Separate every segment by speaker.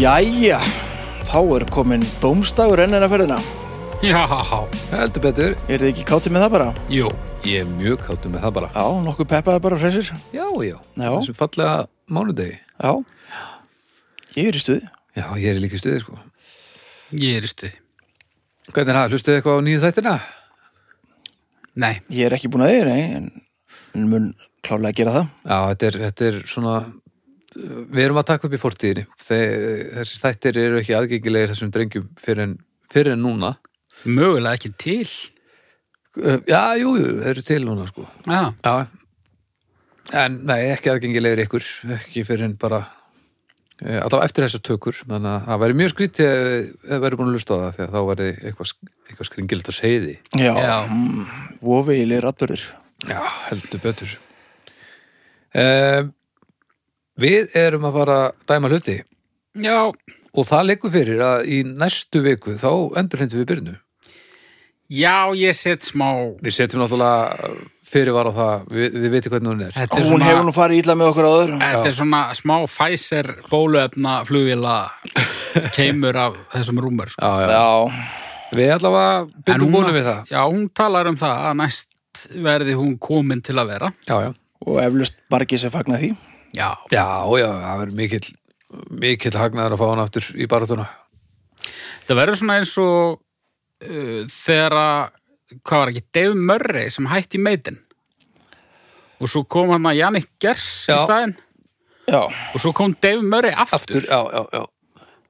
Speaker 1: Jæja, þá er komin dómstagur enn enn að ferðina.
Speaker 2: Já, heldur betur.
Speaker 1: Er þið ekki kátið með það bara?
Speaker 2: Jú, ég er mjög káttur með það bara.
Speaker 1: Já, nokkuð peppaði bara freysir.
Speaker 2: Já, já,
Speaker 1: Já.
Speaker 2: þessu fallega mánudegi.
Speaker 1: Já, ég er í stuði.
Speaker 2: Já, ég er líka í stuði, sko.
Speaker 3: Ég er í stuði.
Speaker 2: Hvernig er það, hlustuðu eitthvað á nýju þættina?
Speaker 3: Nei,
Speaker 1: Ég er ekki búin að þið, nei, en, en mun klálega að gera það.
Speaker 2: Já, þetta er, þetta er svona, eh, við erum að taka upp í fortíðinni. Þeir, eh, þessir þættir eru ekki aðgengilegir þessum drengjum fyrir en, fyrir en núna.
Speaker 3: mögulega ekki til.
Speaker 2: Uh, Já, jú, jú, þeir eru til núna, sko.
Speaker 3: Já,
Speaker 2: Já, en nei, ekki aðgengilegir ykkur, ekki fyrir en bara, eh, alltaf eftir þessar tökur, þannig að það væri mjög skrítið ef ef við verið búin að lusta á það, því að þá væri eitthvað, sk- eitthvað skringilegt að segja því.
Speaker 1: Já,
Speaker 3: Já.
Speaker 1: mm, vovegilegir atbyrður.
Speaker 2: Já, heldur betur. Um, við erum að fara að dæma hluti
Speaker 3: já,
Speaker 2: og það leikur fyrir að í næstu viku þá endur hendur við byrnu.
Speaker 3: já, ég set smá.
Speaker 2: Við setjum náttúrulega fyrirvar á það, við, við veitum hvernig hún er.
Speaker 3: Þetta er
Speaker 1: Hún
Speaker 3: svona,
Speaker 1: hefur nú farið illa með okkur áður.
Speaker 3: þetta er svona smá Pfizer bóluefna flugvila keimur af þessum rúmur. Sko.
Speaker 2: Já, já.
Speaker 1: Já,
Speaker 2: Við allavega
Speaker 3: En
Speaker 2: byrjum
Speaker 3: hún
Speaker 2: vonum
Speaker 3: all-
Speaker 2: við það.
Speaker 3: Já, hún talar um það að næst verði hún komin til að vera.
Speaker 2: Já, já.
Speaker 1: og eflust margir sem fagna því.
Speaker 3: Já,
Speaker 2: Já, já, það verður mikill mikill hagnaður að fá hann aftur í baratuna
Speaker 3: það verður svona eins og uh, þegar að, hvað var ekki, Dave Murray sem hætti meitin. Og svo kom hann að Jannik Gers í
Speaker 2: Já.
Speaker 3: staðinn
Speaker 1: Já,
Speaker 3: og svo kom Dave Murray
Speaker 2: Aftur,
Speaker 3: aftur.
Speaker 2: já, já, já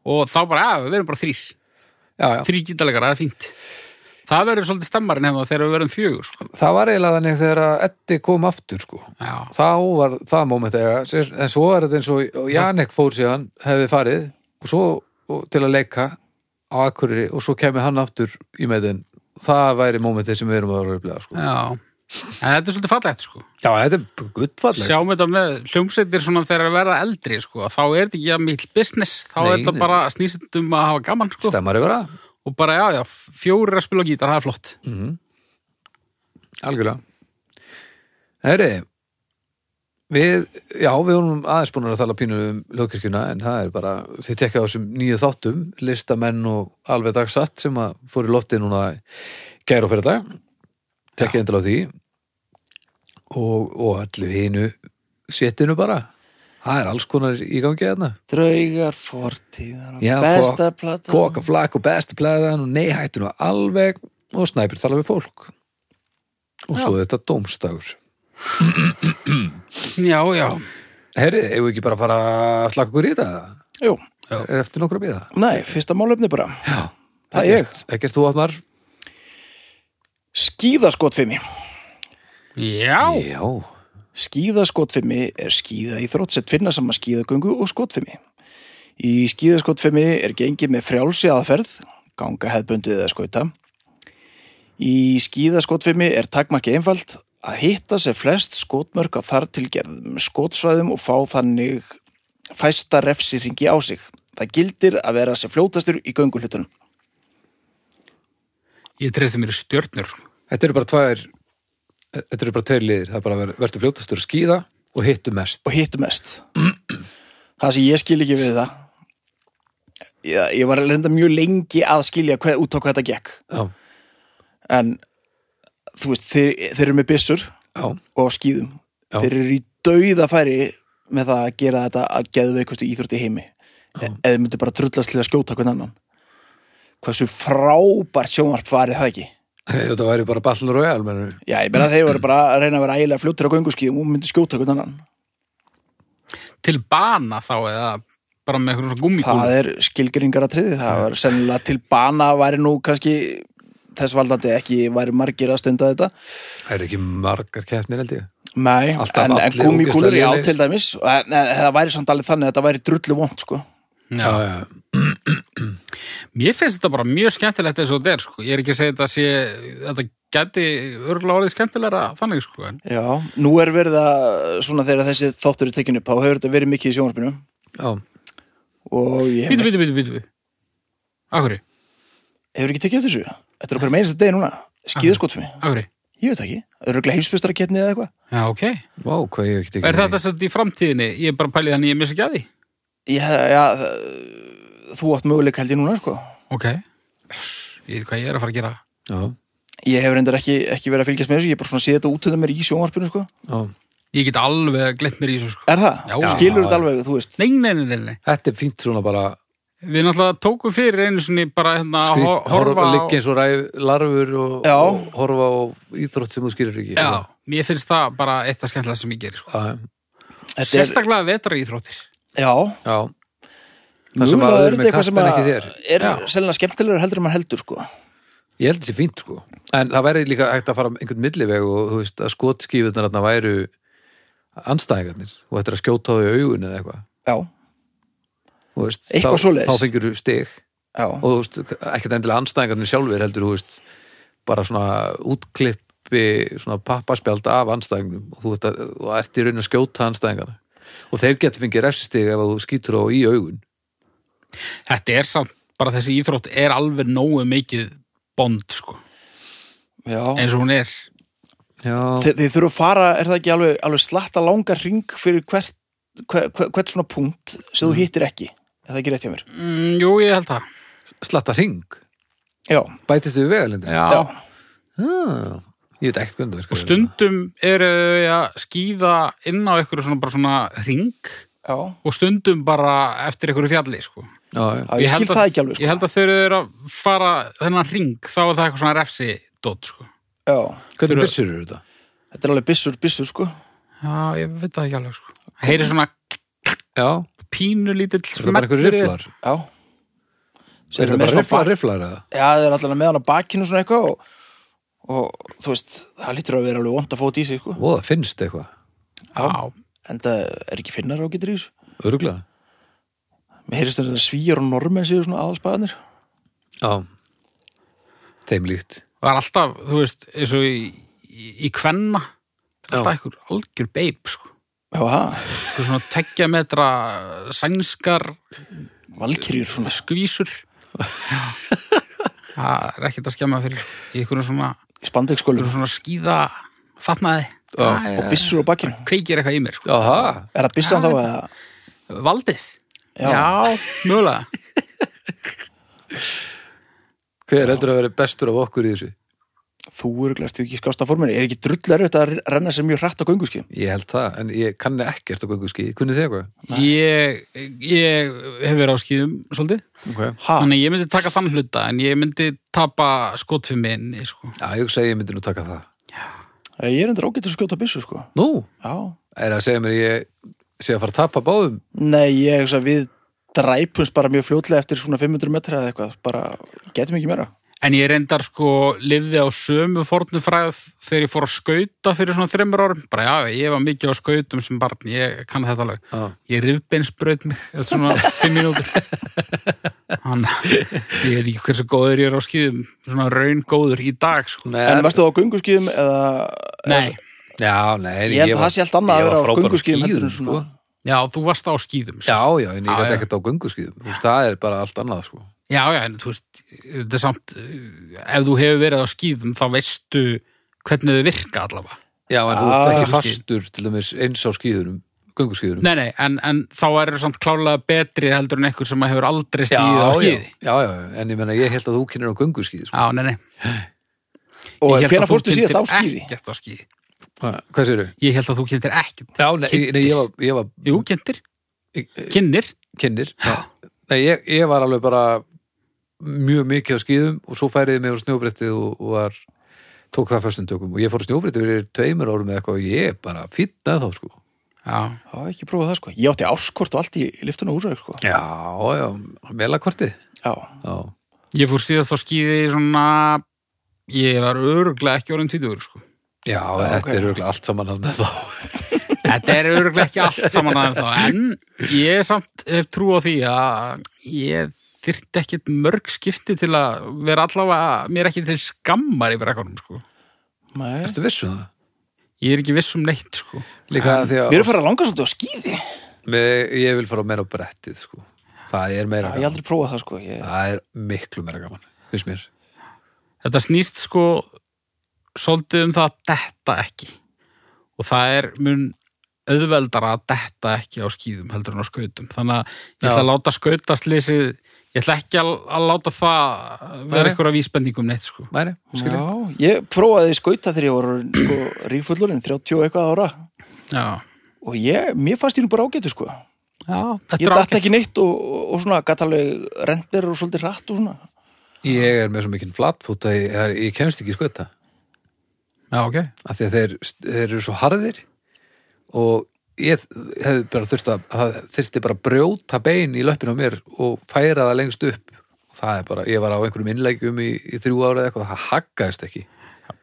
Speaker 3: og þá bara, að, við verum bara þrýr
Speaker 2: Já, já,
Speaker 3: þrýr gítalegar, það er fínt það verður svolítið stemmarinn hefða þegar við verðum fjögur sko.
Speaker 2: það var eiginlega þannig þegar að Eddi kom aftur sko,
Speaker 3: já,
Speaker 2: þá var það moment eiga, sér- en svo er þetta eins og og Janek fór síðan, hefði farið og svo og, til að leika á Akureyri og svo kemur hann aftur í meðin, það væri momentið sem við erum að röflega sko.
Speaker 3: já en þetta er svolítið fallegt sko
Speaker 2: Já, þetta er guttfallegt
Speaker 3: sjáum þetta með hljómsveitir svona þegar að verða eldri sko, þá er þetta ekki að mikil business þá
Speaker 2: Nei,
Speaker 3: er þetta
Speaker 2: nei.
Speaker 3: bara snýsitt um að hafa gaman sko.
Speaker 2: Stemmar yfir það,
Speaker 3: og bara, já, já, fjórir að spila á gítar, það er flott
Speaker 2: Mm. algjörlega Herri Við, já, við vorum aðeins búin að tala pínu um lögkirkjuna en það er bara, þið tekja á þessum nýju þáttum listamenn og alveg dagsatt sem að fóru loftið núna gær og fyrir dag tekja endala á því og, og allu hinu setinu bara það er alls konar í gangi hérna. þarna
Speaker 1: draugar, fortíðar,
Speaker 2: Já,
Speaker 1: besta
Speaker 2: kok-
Speaker 1: plata.
Speaker 2: koka flak og besta plæðan og neihættinu alveg og snæpir tala við fólk og svo þetta dómstagur
Speaker 3: já, já,
Speaker 2: Herri, eigum við ekki bara að fara að slaka okkur í þetta?
Speaker 1: Jú,
Speaker 2: Er eftir nokkur að býða?
Speaker 1: nei, fyrsta málefni bara.
Speaker 2: Já.
Speaker 1: Það er ég.
Speaker 2: Ekkert þú átnar?
Speaker 1: Skíðaskotfimi.
Speaker 3: já
Speaker 2: Já.
Speaker 1: Skíðaskotfimi er skíða í þrótsett finnasama skíðagöngu og skotfimi. Í skíðaskotfimi er gengið með frjálsi aðferð, ganga hefðbundið eða skauta. Í skíðaskotfimi er takmarki einfalt að hitta sér flest skotmörk á þar tilgerðum skotsvæðum og fá þannig fæsta refsiringi á sig. Það gildir að vera sér fljótastur í gönguhlutunum.
Speaker 3: ég treysti mér í stjörnur sko.
Speaker 2: Þetta eru bara tvær, þetta eru bara tveir liðir. Það er bara að verður fljótastur að skýða og hittu mest.
Speaker 1: og hittu mest það sem ég skil ekki við það ég, ég var reynda mjög lengi að skilja hvað, út á hvað þetta gekk
Speaker 2: Já.
Speaker 1: en þú veist, þeir, þeir eru með byssur
Speaker 2: Já.
Speaker 1: og á skýðum
Speaker 2: Já.
Speaker 1: þeir eru í dauðafæri með það að gera þetta að geðu veikustu íþrótti í heimi e eða þeir myndu bara trullast til að skjóta hvern annan hversu frábært sjónvarp farið það ekki
Speaker 2: Þetta væri bara Battle Royale, mennum.
Speaker 1: já, ég meina þeir voru bara að reyna að vera ægilega fljóttir á gönguskýðum og myndu skjóta hvern annan
Speaker 3: til bana þá eða bara með einhverjum svona
Speaker 1: Það
Speaker 3: gummikúlu
Speaker 1: er skilgringar að triði, það var sennilega til bana væri nú kannski þess valdandi ekki væri margir að stunda þetta
Speaker 2: Það eru ekki margar keppnir, held ég.
Speaker 1: Nei,
Speaker 2: Alltaf
Speaker 1: en, en
Speaker 2: allir
Speaker 1: gumikúlur
Speaker 2: ógeðslega
Speaker 1: já
Speaker 2: lélegir.
Speaker 1: til dæmis, en, en, það væri samt alveg þannig að þetta væri drullu vond sko
Speaker 3: Já.
Speaker 2: já.
Speaker 3: Mér finnst þetta bara mjög skemmtilegt eins og þetta er, sko. Ég er ekki að segja þetta sé, þetta geti örgulega orðið skemmtilegra þannig, sko. En,
Speaker 1: Já, nú er verið að svona þegar þessi þáttur er tekinu upp, þá hefur þetta verið mikið í sjónvarpinu
Speaker 2: Já.
Speaker 1: og ég
Speaker 3: bítu,
Speaker 1: hef,
Speaker 3: bítu, bítu, bítu. Akkurri,
Speaker 1: hefur ekki tekið eftir þessu Þetta er okkur meins að degi núna, skýðaskot fyrir mig
Speaker 3: akkurri.
Speaker 1: Ég veit það ekki, öruglega heimsbyrstara ketni eða eitthvað
Speaker 3: Já, ok.
Speaker 2: Vá, hvað ég hef ekki tekið.
Speaker 3: Er
Speaker 2: eftir
Speaker 3: þetta sett í framtíðinni? Ég er bara pælið þannig, ég missi ekki að því.
Speaker 1: já, já, það- þú átt möguleik held ég núna sko.
Speaker 3: Ok. Uss, Ég veit hvað ég er að fara að gera.
Speaker 2: já,
Speaker 1: Ég hef reyndar ekki, ekki verið að fylgjast með þessu, ég er bara svona séð þetta útöða mér í sjónvarpinu sko.
Speaker 2: já.
Speaker 3: Ég get alveg glitt mér í þessu sko.
Speaker 1: Er það?
Speaker 3: Já.
Speaker 1: Skilur þetta alveg, þú veist.
Speaker 3: Nei, nei, nei, nei, nei.
Speaker 2: Þetta er fínt svona bara
Speaker 3: Við náttúrulega tókum fyrir einu sinni bara hérna að
Speaker 2: skrýtt, horfa
Speaker 3: horfa á...
Speaker 2: liggja eins og ræf, larfur og,
Speaker 1: Já.
Speaker 2: og horfa á íþrótt sem þú skýrir ekki
Speaker 3: Já, mér finnst það bara eitt að skemmtilega sem ég gerir sko.
Speaker 2: Já,
Speaker 1: Þetta er-
Speaker 3: Sérstaklega vetra íþróttir.
Speaker 1: Já,
Speaker 2: já, Það sem að
Speaker 1: mögulega er
Speaker 2: öðrum er
Speaker 1: þetta eitthvað sem
Speaker 2: kalt en
Speaker 1: að
Speaker 2: ekki
Speaker 1: er
Speaker 3: Já.
Speaker 1: selina skemmtilegur heldur en maður heldur sko.
Speaker 2: ég held þessi fínt sko en það væri líka hægt að fara einhvern milliveg og þú veist að skotskífurnar þarna væru anstæðingarnir og þetta er að skjóta á þau í augun eða eitthvað
Speaker 1: Já,
Speaker 2: Þú veist,
Speaker 1: Eitthvað
Speaker 2: þá,
Speaker 1: svoleiðis.
Speaker 2: þá fengur þú stig
Speaker 1: já,
Speaker 2: og þú veist, ekkert endilega anstæðingarnir sjálfur heldur, þú veist, bara svona útklippi, svona pappaspjald af anstæðingnum og þú veist að, og ert í raun að skjóta anstæðingarna og þeir getur fengið refsistig ef að þú skýtur á í augun
Speaker 3: Þetta er samt, bara þessi íþrótt er alveg nógu mikið bond sko.
Speaker 1: já.
Speaker 3: Eins og hún er.
Speaker 2: Já,
Speaker 1: Þi, þið þurfa að fara, er það ekki alveg, alveg slatta langa ring fyrir hvert, hver, hver, hvert svona punkt sem þú hittir ekki er það ekki rétt hjá mér?
Speaker 3: Mm, jú, ég held það.
Speaker 2: slatta hring
Speaker 1: Já,
Speaker 2: bætist við vegalindin
Speaker 1: já,
Speaker 2: ah, Ég veit ekkert hvernig það
Speaker 3: Og
Speaker 2: virkar.
Speaker 3: stundum eru þau að skýða inn á einhverju svona, bara svona ring
Speaker 1: já,
Speaker 3: og stundum bara eftir einhverju fjalli sko.
Speaker 2: Já, já,
Speaker 1: já ég,
Speaker 3: held
Speaker 1: skil það ekki alveg
Speaker 3: Ég
Speaker 1: sko.
Speaker 3: held að þau eru að fara þennan ring þá er það eitthvað svona refsi dot sko.
Speaker 1: Já,
Speaker 2: Hvernig
Speaker 3: Þurfa-
Speaker 2: byssur eru þetta?
Speaker 1: þetta er alveg byssur, byssur sko.
Speaker 3: Já, ég veit það ekki alveg sko. Heyri svona
Speaker 2: Já,
Speaker 3: pínu lítill
Speaker 2: er það bara einhverju rifflar?
Speaker 1: Já
Speaker 2: Er
Speaker 1: með
Speaker 2: það bara
Speaker 1: svona
Speaker 2: rifflar,
Speaker 1: bak-
Speaker 2: rifflar eða?
Speaker 1: Já, það er allavega með hann á bakinu svona eitthvað og, og þú veist, það lítur að vera alveg vond að fóta í sig sko.
Speaker 2: Ó, það finnst eitthvað,
Speaker 3: Já,
Speaker 1: en það er ekki finnar á getur í þessu
Speaker 2: öruglega
Speaker 1: Mér heyrist þannig að svíjar og normenn séu svona aðalspaðanir
Speaker 2: Já, þeim líkt
Speaker 3: það er alltaf, þú veist, eins og í, í, í kvenna, það er alltaf einhver algjör beip, sko.
Speaker 1: Já, ha,
Speaker 3: Einhver svona tekja metra sænskar
Speaker 1: valkyrjur svona
Speaker 3: skvísur. það er ekkert að skemma fyrir í einhverjum svona,
Speaker 1: spandegskólum
Speaker 3: einhverjum svona skíða fatnaði.
Speaker 2: Já,
Speaker 3: Það
Speaker 1: og byssur á bakinu
Speaker 3: Kveikir eitthvað í mér, sko.
Speaker 2: Jaha,
Speaker 1: Er það byssan þá eða?
Speaker 3: Valdið.
Speaker 1: Já.
Speaker 3: mögulega.
Speaker 2: hver heldur að vera bestur af okkur í þessu?
Speaker 1: Þú eru glært, þú ekki skásta forminu Er ekki drullar þetta að renna sér mjög hratt á gönguski?
Speaker 2: Ég held það, en ég kanni ekkert á göngu skýði Kunni þið eitthvað?
Speaker 3: Ég, ég hef verið á skíðum svolítið.
Speaker 2: Okay.
Speaker 1: Ha,
Speaker 3: Þannig ég myndi taka þann hluta, en ég myndi tapa skotfimminni, sko.
Speaker 2: Já, ég hugsa að ég myndi nú taka það
Speaker 1: ég er endur ágættur að skjóta byssu sko
Speaker 2: Nú,
Speaker 1: Já
Speaker 2: er það að segja mér að ég sé að fara að tapa báðum
Speaker 1: Nei, ég hugsa að við dræpumst bara mjög fljótlega eftir svona 500 metra eða eitthvað bara getum ekki meira
Speaker 3: En ég reyndar sko lifði á sömu fornu fræð þegar ég fór að skauta fyrir svona þreymur árum. Bara já, ég var mikið á skautum sem barn, ég kann þetta alveg.
Speaker 2: Já.
Speaker 3: Ég rifbeinsbraut mig eftir svona fimm mínútur. Þannig, að ég veit ekki hversu góður ég er á skýðum, svona raun góður í dag sko.
Speaker 2: Nei,
Speaker 1: En varstu þú á gönguskíðum eða
Speaker 3: Nei,
Speaker 2: Já, nei,
Speaker 1: Ég held að það sé allt annað að vera á gönguskíðum heldur en
Speaker 2: heldur
Speaker 1: svona.
Speaker 2: sko.
Speaker 3: já, þú varst á skýðum.
Speaker 2: Já, já, en
Speaker 3: Já,
Speaker 2: ég gæti
Speaker 3: já.
Speaker 2: ekkert á göngu skýðum Það er bara allt annað sko
Speaker 3: já, já, en þú veist, þetta er samt, eh, ef þú hefur verið á skýðum þá veistu hvernig þau virka allavega.
Speaker 2: Já, en þú ert
Speaker 1: Ah,
Speaker 2: ekki
Speaker 3: gönguskíði.
Speaker 2: fastur til dæmis eins á skýðunum Göngu skýðunum
Speaker 3: Nei, nei, en, en þá er það samt klálega betri heldur en einhver sem hefur aldrei
Speaker 2: já,
Speaker 3: stíðið á
Speaker 2: já,
Speaker 3: skýði.
Speaker 2: já, já, en ég menna ég held að þú kynir á göngu skýði sko.
Speaker 3: Já, nei, nei.
Speaker 1: Og
Speaker 3: Ég hélt að
Speaker 1: hvenær
Speaker 3: þú
Speaker 1: fórstu síðast á
Speaker 3: kynntir
Speaker 1: skíði?
Speaker 3: Ekkert á skíði.
Speaker 2: Hvað sér
Speaker 3: Ég held að þú kynntir ekkert.
Speaker 2: Já, nei,
Speaker 3: Kynntir.
Speaker 2: nei ég var, ég var
Speaker 3: Jú, kynntir.
Speaker 2: Ég- ég-
Speaker 3: Kynnir.
Speaker 2: kynnir Nei, ég, ég var alveg bara mjög mikið á skýðum og svo færiði mig á snjóbrettið og, og var, tók það föstum tökum og ég fór á snjóbrettið fyrir tveimur árum eða eitthvað og ég bara fýtnaði þá sko
Speaker 3: Já.
Speaker 1: Já, ekki prófað það sko. Ég átti áskort og allt í liftun og húsæk sko.
Speaker 2: Já, já, melakortið
Speaker 1: Já,
Speaker 2: Já,
Speaker 3: Ég fór síðast á skíði svona... Ég var öruglega ekki orðin tvítugur, sko.
Speaker 2: já þetta
Speaker 1: ok.
Speaker 2: er auðvitað allt saman hann þá
Speaker 3: Þetta er öruglega ekki allt saman aðeins þá. En ég samt hef trú á því að ég þyrfti ekkert mörg skipti til að vera allavega, mér ekki til skammar í brekkanum, sko.
Speaker 1: nei.
Speaker 2: Ertu vissu það?
Speaker 3: Ég er ekki viss um neitt, sko.
Speaker 2: Líka því
Speaker 1: Við
Speaker 2: að
Speaker 1: erum farið að langa svolítið á skíði.
Speaker 2: með, ég vil fara meira á brettið sko Það er meira
Speaker 1: Já, ég
Speaker 2: gaman
Speaker 1: aldrei prófað það sko. Ég...
Speaker 2: Það er miklu meira gaman, finnst mér
Speaker 3: þetta snýst sko svolítið um það að detta ekki og það er mun auðveldara að detta ekki á skýðum heldur en á skautum þannig að ég
Speaker 2: Já.
Speaker 3: ætla að láta skautaslýsið ég ætla ekki að, að láta það vera
Speaker 2: Nei.
Speaker 3: einhverja vísbendingum neitt sko.
Speaker 2: Mæri, skilji.
Speaker 1: Já, ég prófaði skauta þegar ég var orðinn, sko, rífullurinn, 30 eitthvað ára
Speaker 3: Já,
Speaker 1: og ég, mér fannst ég nú bara ágætu sko
Speaker 3: já
Speaker 1: ég
Speaker 3: þetta er
Speaker 1: datt
Speaker 3: ágætt.
Speaker 1: ekki neitt og, og, og svona gætt alveg rendir og svolítið rætt og svona
Speaker 2: Ég er með svo mikinn flatfút að ég, að ég kemst ekki í skauta.
Speaker 3: Já, ok
Speaker 2: Af því að þeir, þeir eru svo harðir og ég hefði bara þurft að, að þurfti bara að brjóta bein í löppinu á mér og færa það lengst upp. Og það er bara, ég var á einhverjum innlegjum í, í þrjú ára eða eitthvað, það haggaðist ekki.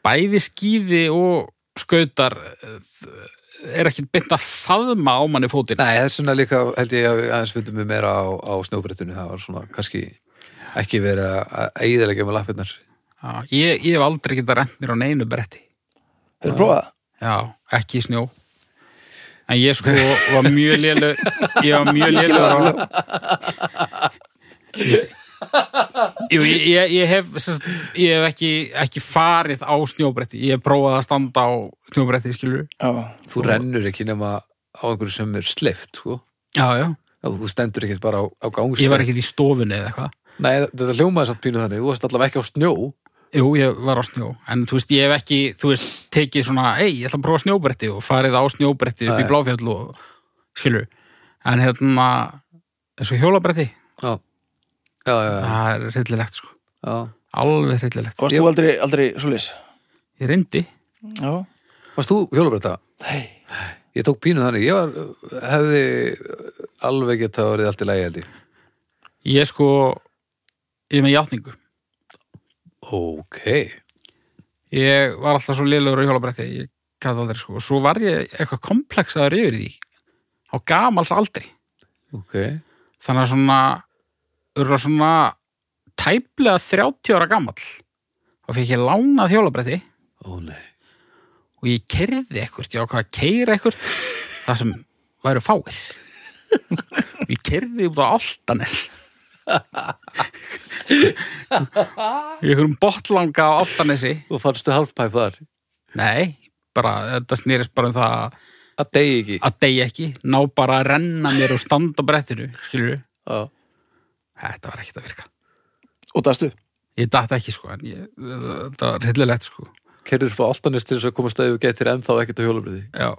Speaker 3: Bæði skýði og skautar eh, er ekki beint að faðma á manni fótinn
Speaker 2: Nei, það er svona líka, held ég að við aðeins fundum við meira á, á snjóbrettinu, það var svona kannski ekki verið að- að eiðilegja með lappirnar.
Speaker 3: Já, ég, ég hef aldrei getað rent mér á neinu bretti.
Speaker 1: Hefur prófað?
Speaker 3: Já, ekki í snjó. En ég sko var mjög lélug, ég var mjög
Speaker 1: Ég
Speaker 3: lélug
Speaker 1: skil
Speaker 3: á...
Speaker 1: það
Speaker 3: Jú, ég, ég, ég hef, sest, ég hef ekki, ekki farið á snjóbretti. Ég hef prófað að standa á snjóbretti, skilur.
Speaker 1: Já,
Speaker 2: Þú rennur ekki nema á einhverju sem er sleift, sko.
Speaker 3: Já, já.
Speaker 2: Ef Þú stendur ekkert bara á, á gangstæð.
Speaker 3: Ég var ekkert í stofunni eða eitthvað.
Speaker 2: Nei, þetta hljómaði satt pínu þannig, þú varst allavega ekki á snjó.
Speaker 3: Jú, ég var á snjó. En þú veist, ég hef ekki, þú veist, tekið svona, ei, ég ætla að prófa snjóbretti og farið á snjóbretti upp
Speaker 2: Nei.
Speaker 3: í bláfjöld og skilur. En hérna, eins og hjólabretti,
Speaker 2: Já, já, já, já.
Speaker 3: það er hryllilegt, sko.
Speaker 2: já.
Speaker 3: Alveg hryllilegt.
Speaker 1: varst þú aldrei, aldrei svoleiðis?
Speaker 3: Ég reyndi.
Speaker 1: Já,
Speaker 2: Varst þú hjólabretta?
Speaker 1: hei
Speaker 2: Ég tók pínu þannig, ég var, hefði alveg geta verið allt í lægi held ég.
Speaker 3: Ég sko, ég er með játningu.
Speaker 2: Ok,
Speaker 3: Ég var alltaf svo liðlegur á hjólabretti, ég gæti aldrei sko. Og svo var ég eitthvað komplexaður yfir því á gamals aldri.
Speaker 2: ok.
Speaker 3: Þannig að svona, urla svona tæplega 30 ára gamall. Þá fekk ég lánað hjólabretti
Speaker 2: Ó nei.
Speaker 3: og ég kerði ekkert, ég ákvað að keira ekkert það sem væru fáir. Og Ég kerði út á Altanes. Í einhverjum botlanga á Altanesi.
Speaker 2: Þú fannstu halfpæp þar?
Speaker 3: Nei, bara, þetta snýrist bara um það
Speaker 2: Að degi ekki.
Speaker 3: að deyja ekki, ná bara að renna mér og standa á brettinu, skilur við.
Speaker 2: Já.
Speaker 3: Þetta var ekkert að virka.
Speaker 1: Og dastu?
Speaker 3: Ég datt ekki, sko, en ég, þetta var hryllilegt, sko.
Speaker 2: Kerður frá Altanist til þess að komast að þú getur ennþá ekkert á hjólabriði.
Speaker 3: Já.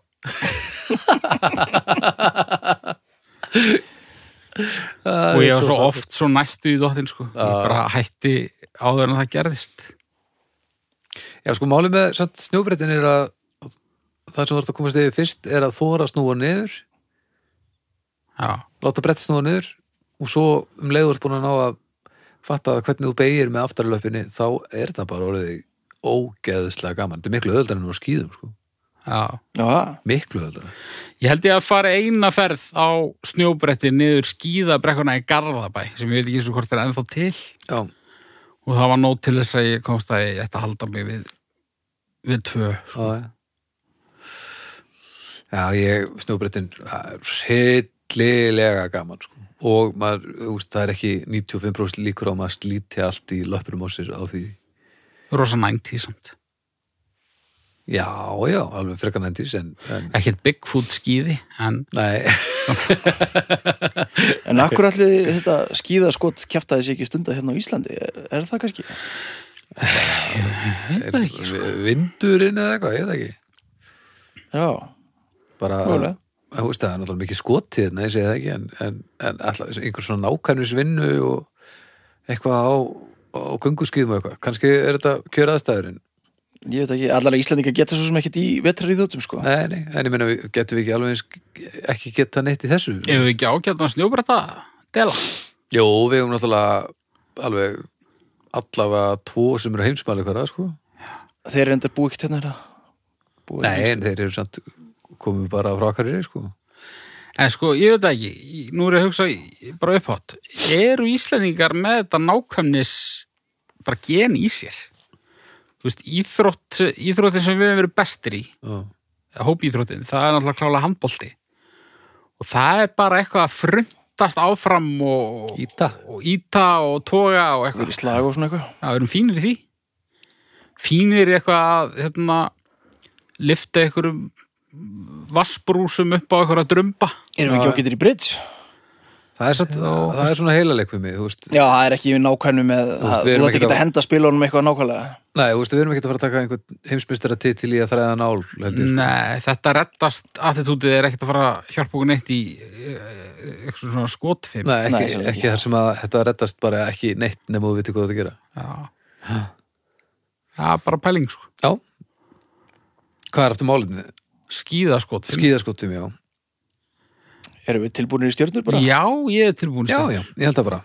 Speaker 3: og ég var svo oft svo næstu í dóttin, sko. Ég
Speaker 2: Já.
Speaker 3: bara hætti áður en það gerðist.
Speaker 2: Já, sko, málið með samt snjóbreytin er að það sem þú ert að komast yfir fyrst er að þóra að snúa niður,
Speaker 3: Já,
Speaker 2: láta brett snúa niður og svo um leiður ert búin að ná að fatta hvernig þú beigir með aftarlöpinni þá er það bara orðið ógeðslega gaman. Þetta er miklu öðuldar en á skýðum, sko.
Speaker 3: já.
Speaker 1: Já,
Speaker 2: Miklu öðuldar.
Speaker 3: Ég held ég að fara eina ferð á snjóbretti niður skíðabrekkuna í Garðabæ, sem ég veit ekki svo hvort er ennþá til.
Speaker 2: Já,
Speaker 3: og það var nóg til þess að ég komst að ég ætti að halda mig við við tvö
Speaker 2: já, já. Já, ég, snjóbreytin, það er hryllilega gaman, sko. Og maður, þú veist, það er ekki 95% líkur á að maður slíti allt í löppurum á sér á því.
Speaker 3: rosa 90 samt
Speaker 2: Já, já, alveg frekar nændis en, en
Speaker 3: ekkert Bigfoot skíði en
Speaker 2: nei,
Speaker 1: en akkur allir þetta skíðaskot kjaftaði sér ekki stunda hérna á Íslandi, er, er það kannski?
Speaker 3: ég veit það ekki sko.
Speaker 2: vindurinn eða eitthvað, ég veit það ekki
Speaker 1: Já,
Speaker 2: bara,
Speaker 1: Mögulega.
Speaker 2: þú veist, það er náttúrulega mikið skotið nei, ég segi það ekki, en, en, en alltaf einhver svona nákvæmnisvinnu og eitthvað á, á gunguskýðum og eitthvað, kannski er þetta kjöraðstæðurinn
Speaker 1: ég veit ekki, allarlega Íslandingar geta svo sem ekkert í vetrar í þóttum sko
Speaker 2: Nei, nei, en ég meina, við- getum við ekki alveg eins ekki geta neitt í þessu
Speaker 3: ef við ekki ágættan snjóbretta dela
Speaker 2: Jó, við hefum náttúrulega alveg allavega tvo sem eru heimsmæli hverða, sko
Speaker 1: Þeir eru enda búið ekkert hérna hérna Búið
Speaker 2: Nei, sko.
Speaker 1: hérna.
Speaker 2: en þeir eru samt komum bara frá akkarri, sko
Speaker 3: en sko ég veit það ekki, Ég- nú er ég að hugsa í- bara upphátt, eru Íslendingar með þetta nákvæmnis bara gen í sér þú veist, íþrótt, íþróttin sem við hefum verið bestir í
Speaker 2: Já.
Speaker 3: hópíþróttin, það er náttúrulega klálega handbolti og það er bara eitthvað að fruntast áfram og
Speaker 2: Íta
Speaker 3: og íta og toga og
Speaker 1: Þeir eru
Speaker 3: eitthvað,
Speaker 1: í slag og svona eitthvað
Speaker 3: það erum fínir í því fínir í eitthvað að hérna, lifta einhverjum vassbrúsum upp á einhverja drömba
Speaker 1: Erum við ekki ágættir í bridge?
Speaker 2: það er, satt, það er svona heilaleik við mig þú veist,
Speaker 1: Já, það er ekki nákvæmnu með það.
Speaker 2: við
Speaker 1: Þú
Speaker 2: erum
Speaker 1: ætti
Speaker 2: ekkert
Speaker 1: ekki að
Speaker 2: á-
Speaker 1: henda spilunum eitthvað nákvæmlega.
Speaker 2: nei, þú veist, við erum ekki að fara að taka einhvern heimsmyndstara titil í að þræða nál held ég, sko.
Speaker 3: Nei, þetta reddast attitútið er ekkert að fara að hjálpa okkur neitt í eh, eitthvað svona skotfim
Speaker 2: nei,
Speaker 1: Nei,
Speaker 2: ekki,
Speaker 1: sannlega ekki.
Speaker 2: ekki þar sem að þetta reddast bara ekki neitt nema þú viti hvað þú ert að gera
Speaker 3: Já. Það er bara pæling sko.
Speaker 2: já hvað er aftur málið?
Speaker 3: skíðaskotfim
Speaker 2: skíðaskotum, já
Speaker 1: Erum við tilbúinir í stjörnur bara?
Speaker 3: Já, ég er tilbúin
Speaker 2: já, já, ég held það bara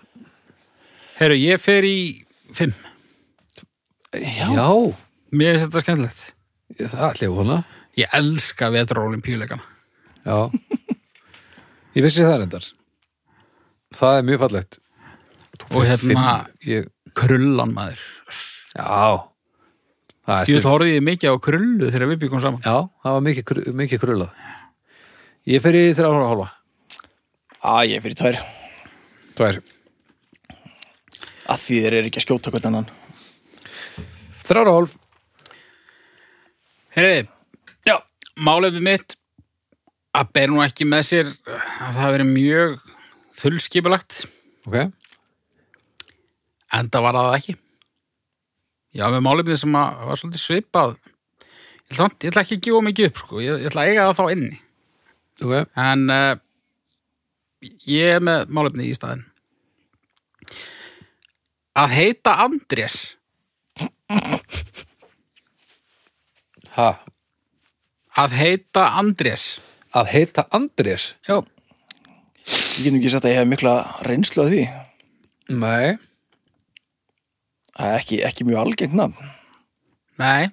Speaker 3: Heru, ég fer í fimm
Speaker 2: já,
Speaker 3: Mér finnst þetta skemmtilegt
Speaker 2: ég- það ætla ég að vona
Speaker 3: Ég elska vetrarólimpíuleikana
Speaker 2: já ég vissi það reyndar það er mjög fallegt
Speaker 3: Og hérna-
Speaker 2: ég,
Speaker 3: Krullan maður
Speaker 2: já það er
Speaker 3: Ég
Speaker 2: stuð
Speaker 3: horfði ég mikið á krullu þegar við byggum saman
Speaker 2: já, það var mikið, kru- mikið krullað ég fer í þrjára og hálfa
Speaker 1: Á, ég er fyrir tvær.
Speaker 2: tvær
Speaker 1: Að því þeir eru ekki að skjóta hvernig annan.
Speaker 2: þrjára og hálf
Speaker 3: Herriði, já, málefni mitt að ber nú ekki með sér að það hafi verið mjög þullskipulagt
Speaker 2: ok
Speaker 3: en það var það ekki. Já, með málefni sem að var svolítið svipað. Ég ætla, samt- ég ætla ekki að gefa mikið upp, sko. Ég, ég ætla að eiga það þá inni.
Speaker 2: ok
Speaker 3: En uh, ég er með málefni í staðinn. Að heita Andrés.
Speaker 2: ha
Speaker 3: Að heita Andrés.
Speaker 2: að heita Andrés
Speaker 3: Já.
Speaker 1: Ég get nú ekki sagt að ég hef mikla reynslu að því.
Speaker 2: nei
Speaker 1: Það er ekki, ekki mjög algengt nafn.
Speaker 3: Nei.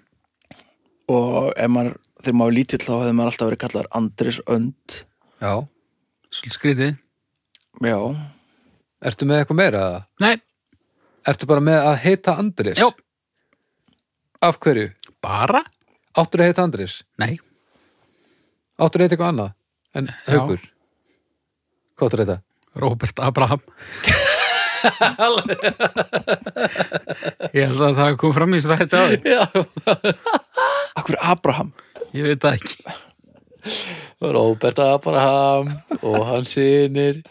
Speaker 1: Og ef maður, þegar maður er lítill þá hefði maður alltaf verið kallar Andris Önd.
Speaker 2: já
Speaker 3: Svolítið skrítið.
Speaker 1: Já.
Speaker 2: ertu með eitthvað meira að
Speaker 3: Nei.
Speaker 2: ertu bara með að heita Andrés
Speaker 3: Já.
Speaker 2: af hverju
Speaker 3: Bara?
Speaker 2: áttur að heita Andrés
Speaker 3: Nei.
Speaker 2: Áttur að heita eitthvað annað en haugur Hvað áttur að heita?
Speaker 3: Robert Abraham Ég held að það kom fram í svo þetta á þér
Speaker 2: Já,
Speaker 1: Akkur Abraham.
Speaker 3: Ég veit það ekki
Speaker 2: Róbert Abraham og hans sinir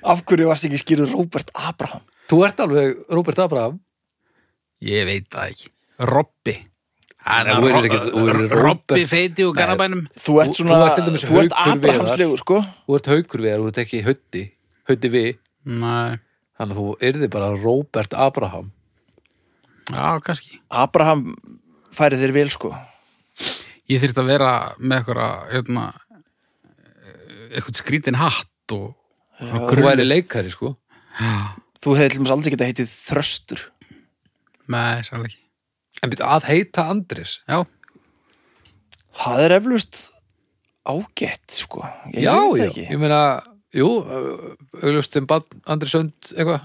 Speaker 1: Af hverju varst ekki skýrð Róbert Abraham?
Speaker 2: Þú ert alveg Róbert Abraham
Speaker 3: Ég veit það ekki Robby
Speaker 2: Nei, þú erir ekki- þú erir
Speaker 3: Robby
Speaker 2: Robert.
Speaker 3: feiti og garabænum
Speaker 1: Þú ert
Speaker 2: Þú-
Speaker 1: svona,
Speaker 2: þú ert til dæmis
Speaker 1: þú ert
Speaker 2: Haukur
Speaker 1: Abrahamslegu, sko.
Speaker 2: Þú ert haugur við, þú ert ekki hötti hötti við,
Speaker 3: Nei,
Speaker 2: þannig að þú yrði bara Róbert Abraham
Speaker 3: já, kannski
Speaker 1: Abraham færi þér vel, sko.
Speaker 3: Ég þyrfti að vera með eitthvað hérna, eh, eitthvað skrítin hatt og
Speaker 2: Þú væri leikari sko
Speaker 1: Þú hefði til dæmis aldrei getað heitið Þröstur.
Speaker 3: Nei, sannlega ekki
Speaker 2: En býtt að heita Andris
Speaker 3: Já,
Speaker 1: Það er eflust ágætt, sko. Ég
Speaker 2: Já,
Speaker 1: veit það
Speaker 2: já,
Speaker 1: ekki.
Speaker 2: ég meina Jú, auðlust um Andris önd eitthvað,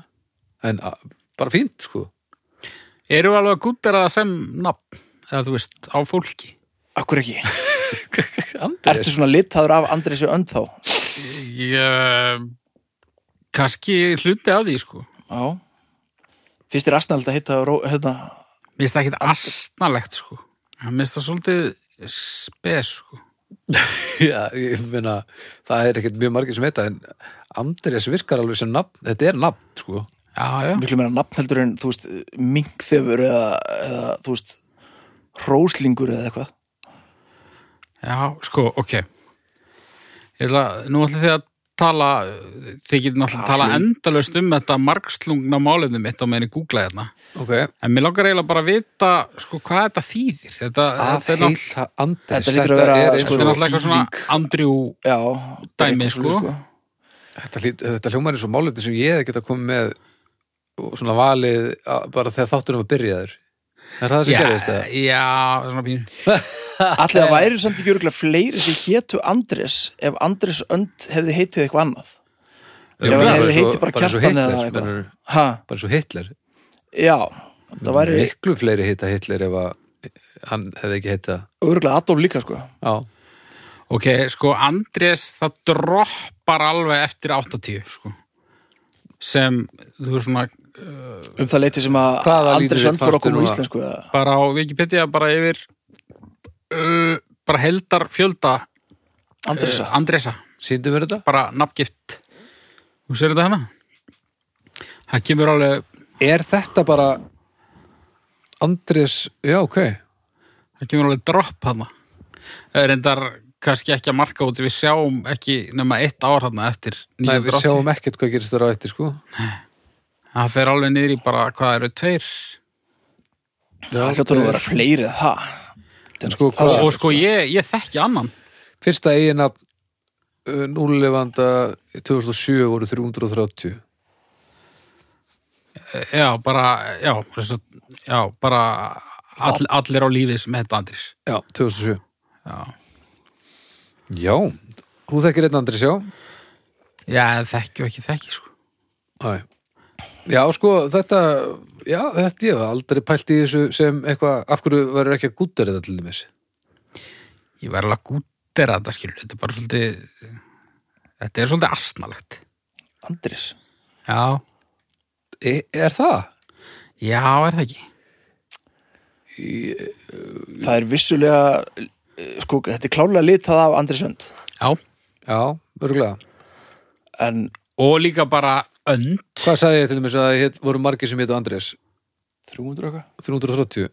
Speaker 2: en a- bara fínt sko
Speaker 3: eru alveg gúttir að það sem nafn eða þú veist, á fólki
Speaker 1: Akkur ekki. Ertu
Speaker 2: Andris,
Speaker 1: svona litaður af Andresi önd þá?
Speaker 3: Ég kannski hluti af því sko
Speaker 1: Já. Fyrst er astnald að heita, Ró- hérna,
Speaker 3: Mér finnst það ekkit asnalegt sko Mér finnst það svolítið spes sko
Speaker 2: Já, ég meina, það er ekkert mjög margir sem heita en Andrés virkar alveg sem nafn, þetta er nafn, sko
Speaker 3: Já, já,
Speaker 1: miklu meira nafn heldur en, þú veist, minkþefur eða, eða, þú veist, róslingur eða eitthvað.
Speaker 3: já, sko, ok Ég ætla, nú ætla þið að tala þið getur náttúrulega að tala
Speaker 1: Kaffi.
Speaker 3: endalaust um þetta margslungna málefni mitt á meðinni googla hérna
Speaker 2: Ok,
Speaker 3: en mér langar eiginlega bara að vita sko, hvað þetta þýðir þetta,
Speaker 2: að
Speaker 3: þetta er náttúrulega,
Speaker 2: heita Andrés
Speaker 1: Þetta hlýtur að vera,
Speaker 2: er eins
Speaker 1: sko,
Speaker 3: þetta er
Speaker 2: og,
Speaker 3: náttúrulega eitthvað svona Andrew
Speaker 1: Já.
Speaker 3: Dæmi,
Speaker 1: eitthvað
Speaker 3: sko.
Speaker 1: svoleiðis,
Speaker 2: þetta, hlýt- þetta hljómar eins og málefni sem ég hef getað komið með og svona valið að, bara þegar þátturum að byrja þér Er það sem
Speaker 3: já,
Speaker 2: gerðist það?
Speaker 3: já, svona pínu
Speaker 1: Allir það væri samt ekki örgulega fleiri sem hétu Andres ef Andres önd hefði heitið eitthvað annað.
Speaker 2: Jú,
Speaker 1: Ef hann
Speaker 2: bara
Speaker 1: hefði
Speaker 2: eins og-
Speaker 1: heitið bara
Speaker 2: bara eins og
Speaker 1: Kjartan eða
Speaker 2: Hitler,
Speaker 1: eitthvað.
Speaker 2: menurðu.
Speaker 1: Ha,
Speaker 2: Bara svo Hitler
Speaker 1: já, það væri
Speaker 2: Miklu fleiri heita Hitler ef að hann hefði ekki heita
Speaker 1: örgulega Adolf líka sko.
Speaker 2: Já,
Speaker 3: ok, sko, Andrés það droppar alveg eftir 80 sko sem, þú veist svona
Speaker 1: Um það leiti sem að
Speaker 2: Hvaða
Speaker 1: Andres
Speaker 2: lítið
Speaker 1: önd fór
Speaker 2: fannstu
Speaker 1: að koma úr
Speaker 2: núna?
Speaker 1: íslensku. eða-
Speaker 3: bara á Wikipedia bara yfir uh, bara heldar fjölda
Speaker 1: Andresa.
Speaker 3: Eh, Andresa,
Speaker 2: Sýndu mér þetta?
Speaker 3: bara nafngift Þú sér þetta hana? Það kemur alveg
Speaker 2: Er þetta bara Andrés, já, ok
Speaker 3: það kemur alveg dropp hana Það er reyndar kannski ekki að marka út við sjáum ekki nema eitt ár hana eftir
Speaker 2: Nei,
Speaker 3: nýju
Speaker 2: við
Speaker 3: droppi
Speaker 2: sjáum ekkert hvað gerist þar á eftir, sko
Speaker 3: Það fer alveg niður í bara hvað eru tveir
Speaker 1: Það hljóttur nú að vera fleiri en það. Þannig
Speaker 2: Sko,
Speaker 1: það
Speaker 2: hvað-
Speaker 1: sem-
Speaker 3: og sko ég, ég þekki annan
Speaker 2: Fyrsta uh, eigin að núlefanda 2007 voru 330
Speaker 3: Já, bara, já, þess að- já, bara all, allir á lífið sem heita Andris.
Speaker 2: Já, 2007
Speaker 3: Já,
Speaker 2: Já, þú þekkir einn Andrés, já
Speaker 3: já þekki og ekki þekki, sko.
Speaker 2: Æ. Já, sko, þetta já, þetta ég hef aldrei pælt í þessu sem eitthvað, af hverju verður ekki að gúttar þetta til dæmis?
Speaker 3: Ég verði alveg gúttir að þetta skilur, þetta er bara svolítið, þetta er svolítið asnalegt.
Speaker 1: Andris.
Speaker 3: Já,
Speaker 2: E, er það?
Speaker 3: já, er það ekki?
Speaker 1: Það er vissulega, eh, sko, þetta er klálega litað af Andris Önd.
Speaker 3: Já,
Speaker 2: Já, örgulega.
Speaker 1: En
Speaker 3: og líka bara önd,
Speaker 2: Hvað sagði ég til dæmis að það hét- voru margir sem hétu Andrés?
Speaker 1: 300 okkar?
Speaker 2: 330.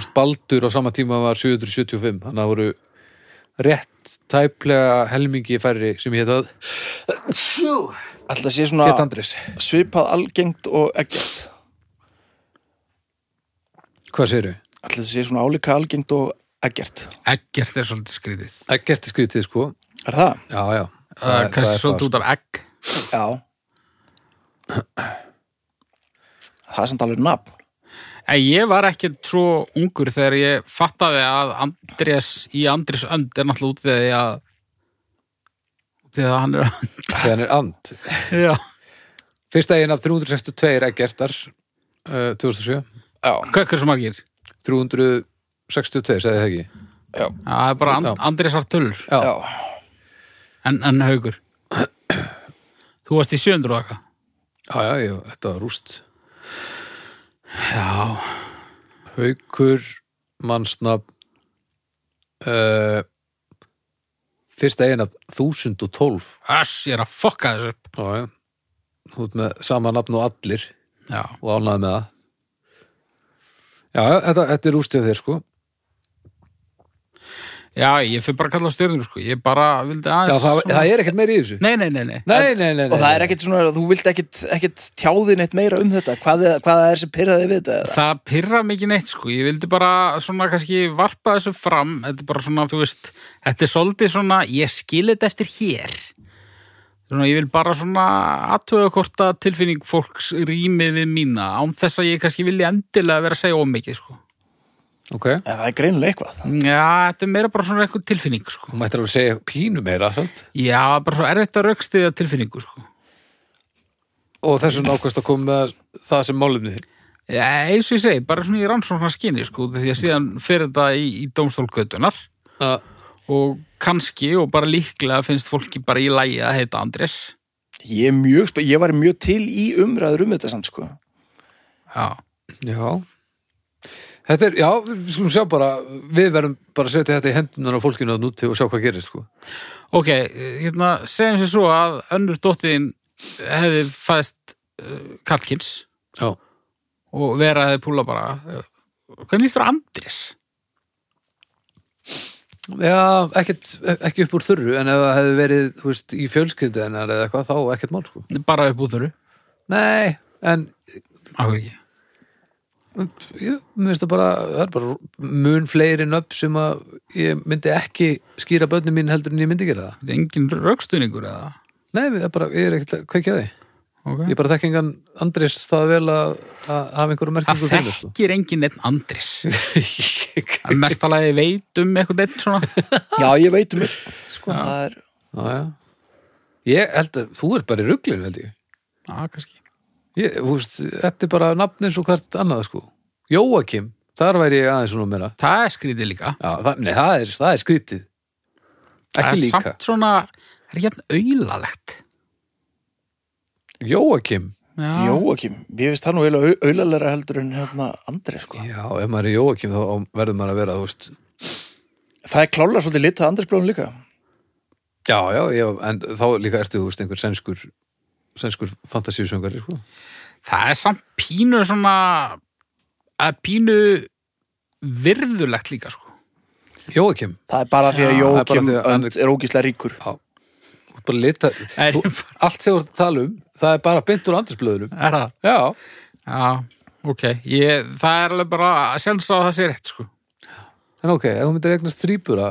Speaker 2: Úst, Baldur á sama tíma var 775, þannig að það voru rétt tæplega helmingi færri sem hétu að
Speaker 1: Alltaf sé
Speaker 2: hétu
Speaker 1: svona
Speaker 2: Andrés.
Speaker 1: svipað algengt og ekkert.
Speaker 2: Hvað segirðu?
Speaker 1: Alltaf sé svona álíka algengt og ekkert.
Speaker 3: ekkert er svolítið skrítið.
Speaker 2: Ekkert er skrítið, sko.
Speaker 1: Er það?
Speaker 2: Já, já.
Speaker 3: Það sko. er kannski
Speaker 2: er
Speaker 3: svolítið
Speaker 2: það,
Speaker 3: út af egg.
Speaker 1: Já. Það er samt alveg nafn.
Speaker 3: En ég var ekkert svo ungur þegar ég fattaði að Andrés í Andrés önd er náttúrulega út við því að út við að hann er
Speaker 2: sko. Þegar hann er and.
Speaker 3: Já.
Speaker 2: Fyrsta eigin af 362 ekkertar uh, 2007
Speaker 1: Já.
Speaker 3: Hvað, hversu margir?
Speaker 2: 362, segði það ekki
Speaker 1: Já.
Speaker 3: Já, Það er bara and,
Speaker 2: Já.
Speaker 3: Andrésar tölur
Speaker 2: Já,
Speaker 1: Já.
Speaker 3: en, en haugur Þú varst í 700 og eitthvað
Speaker 2: já, já, já þetta var rúst
Speaker 3: Já,
Speaker 2: Haukur, mannsnab uh, Fyrsta eigin af 1012
Speaker 3: öss, ég er að fokka þessu upp
Speaker 2: Já, já Þú ert með sama nafn og allir
Speaker 3: Já,
Speaker 2: og ánæði með það Já, já, þetta, þetta er rústið þér sko
Speaker 3: já ég fyrir bara að kalla á stjörnum sko. Ég bara vildi
Speaker 2: Já,
Speaker 3: aðeins
Speaker 2: það, það er ekkert meiri í þessu
Speaker 3: Nei, nei, nei, nei
Speaker 2: Nei, nei, nei, nei
Speaker 1: Og það er ekkert svona, þú vilt ekkert, ekkert tjáði neitt meira um þetta. Hvað, er- hvað er sem pyrraði við þetta? eða?
Speaker 3: Það pyrra mikið neitt sko, ég vildi bara svona kannski varpa þessu fram, þetta er bara svona, þú veist, þetta er svolítið svona, ég skil þetta eftir hér. Svona, ég vil bara svona aðtöga hvort að tilfinning fólks rými við mína, án þess að ég kannski vilji endilega vera að segja ómikið sko.
Speaker 2: Ok,
Speaker 1: En það er greinilega eitthvað.
Speaker 3: Já, þetta er meira bara svona eitthvað tilfinning sko.
Speaker 2: þú mættir alveg segja pínu meira sant?
Speaker 3: Já, bara svo erfitt að raukstiða tilfinningu sko.
Speaker 2: og þessum ákvæmst að koma með það sem málumni
Speaker 3: Já, eins og ég segi, bara svona í rannsóknar skinni sko, því að síðan fyrir þetta í, í dómstólgötunar
Speaker 2: að
Speaker 3: og kannski og bara líklega finnst fólki bara í lægi að heita Andrés.
Speaker 1: Ég, er mjög, spe- ég var mjög til í umræður um þetta samt, sko.
Speaker 3: Já,
Speaker 2: já þetta er, já, við skulum sjá bara við verðum bara að setja þetta í hendunar á fólkinu að núti og sjá hvað gerist sko
Speaker 3: ok, hérna, segjum sér svo að önnur dóttiðin hefði fæðst uh, Karlkins
Speaker 2: já,
Speaker 3: og vera hefði púla bara, uh, hvernig líst þér á Andrés?
Speaker 2: já ekkit, ekki upp úr þurru en ef það hefði verið, þú veist, í fjölskyldu en eða eitthvað, þá ekkert mál sko
Speaker 3: Bara upp út þurru,
Speaker 2: nei, en
Speaker 3: áhver ekki.
Speaker 2: ég, mér finnst það bara, það er bara mun fleiri nöpp sem að ég myndi ekki skýra börnum mín heldur en ég myndi gera það
Speaker 3: Þetta er engin raukstuðningur eða?
Speaker 2: nei, ég er bara, ég er ekkert að kveikja á því
Speaker 3: Ok.
Speaker 2: Ég bara þekki engan Andrés það vel að að hafa einhverju
Speaker 3: Það
Speaker 2: merkingu fyrir sko.
Speaker 3: þekkir enginn einn Andris. Það er mest alveg veit um eitthvað eitt svona.
Speaker 1: Já, ég veit um þetta. Sko, það er...
Speaker 2: Já, já. Ég held að þú ert bara í ruglun held ég.
Speaker 3: Já, kannski.
Speaker 2: ég þú veist, þetta er bara nafn eins og hvert annað sko. Jóakim, þar væri ég aðeins svona meira.
Speaker 3: Það er skrítið líka.
Speaker 2: Já, það, nei, það er, það er skrítið.
Speaker 3: það
Speaker 2: Ekki
Speaker 3: er
Speaker 2: líka.
Speaker 3: samt svona, það er hérna auðalegt.
Speaker 2: Jóakim.
Speaker 3: Já.
Speaker 1: Jóakim, ég finnst það nú eiginlega auðalega heldur en hérna Andri sko.
Speaker 2: Já, ef maður er Jóakim þá verður maður að vera, þú veist,
Speaker 1: Það er klálega svolítið litað Andrisblóðum líka
Speaker 2: Já, já, já, en þá líka ertu, þú veist, einhver sænskur sænskur fantasíusöngari, sko
Speaker 3: Það er samt pínu svona að pínu virðulegt líka sko.
Speaker 2: Jóakim,
Speaker 1: Það er bara því að
Speaker 2: Já, það er bara
Speaker 1: Jókim
Speaker 2: því að hann
Speaker 1: Önd er ógíslega ríkur.
Speaker 2: þú ert bara lita
Speaker 3: Nei.
Speaker 2: þú, Allt sem þú ert að tala um, það er bara beint úr andrisblöðunum
Speaker 3: Er það?
Speaker 2: Já,
Speaker 3: Já, ok. Ég, það er alveg bara sjálfs að það sé rétt sko.
Speaker 2: en ok, ef þú myndir eignast þrýbura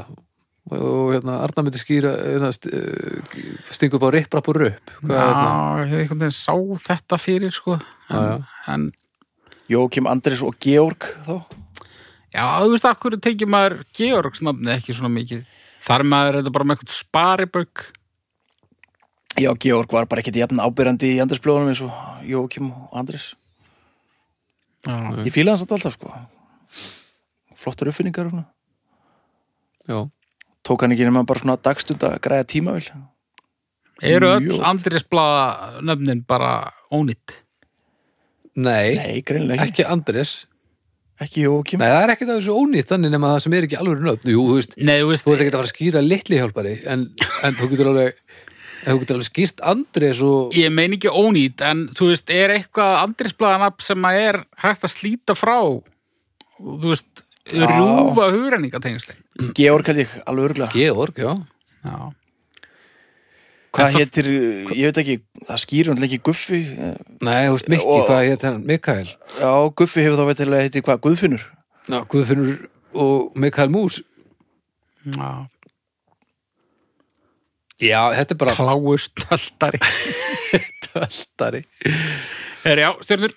Speaker 2: og hérna, Arna myndir skýra hérna, st- eh, stinga upp á ripp, rapp og röpp Hvað er hérna?
Speaker 3: Já, ég einhvern veginn sá þetta fyrir sko.
Speaker 2: Já, já.
Speaker 3: En, en
Speaker 1: Jókim, Andris og Georg þá.
Speaker 3: já, þú veist að hverju tekið maður Georgs nafni ekki svona mikið. Þar er maður þetta bara með eitthvað sparibauk.
Speaker 1: Já, Georg var bara ekkit jafn ábyrjandi í Andrisblóðunum eins og Jókim og Andris.
Speaker 3: Já,
Speaker 1: Ég fíla hans alltaf, sko. Flottar uppfinningar og svona.
Speaker 2: Já,
Speaker 1: Tók hann ekki nema bara svona dagstund að græja tímavel.
Speaker 3: Eru öll
Speaker 1: Mjög oft.
Speaker 3: Andrisblaða nöfnin bara ónýtt?
Speaker 2: nei,
Speaker 1: Nei, greinilega
Speaker 2: ekki
Speaker 1: ekki.
Speaker 2: Andris
Speaker 1: Ekki Jókim.
Speaker 2: Nei, það er ekkert af þessu ónýtt þannig nema það sem er ekki alveg nöfn Jú, þú veist,
Speaker 3: Nei, þú veist,
Speaker 2: þú ert ekkert að fara að skýra litli hjálpari en, en þú getur alveg en þú getur alveg skýrt Andrés og
Speaker 3: ég mein ekki ónýtt en þú veist, er eitthvað andrisblaðanab sem að er hægt að slíta frá þú veist rjúfa hugrenningatengsli
Speaker 1: Georg held ég, alveg örgulega.
Speaker 2: Georg, já
Speaker 3: já.
Speaker 1: Hvað hétir, ég veit ekki, það skýr hann ekki Guffi. eh,
Speaker 2: Nei, þú veist Mikki,
Speaker 1: Og-
Speaker 2: hvað hétt hann? Mikael
Speaker 1: Já, Guffi hefur þá veitilega heitið hvað, Guðfinnur?
Speaker 2: Já, Guðfinnur og Mikael Mús
Speaker 3: Já.
Speaker 2: Já, þetta er bara
Speaker 3: kláust alltari
Speaker 2: kláttaltari
Speaker 3: er já, stjörnur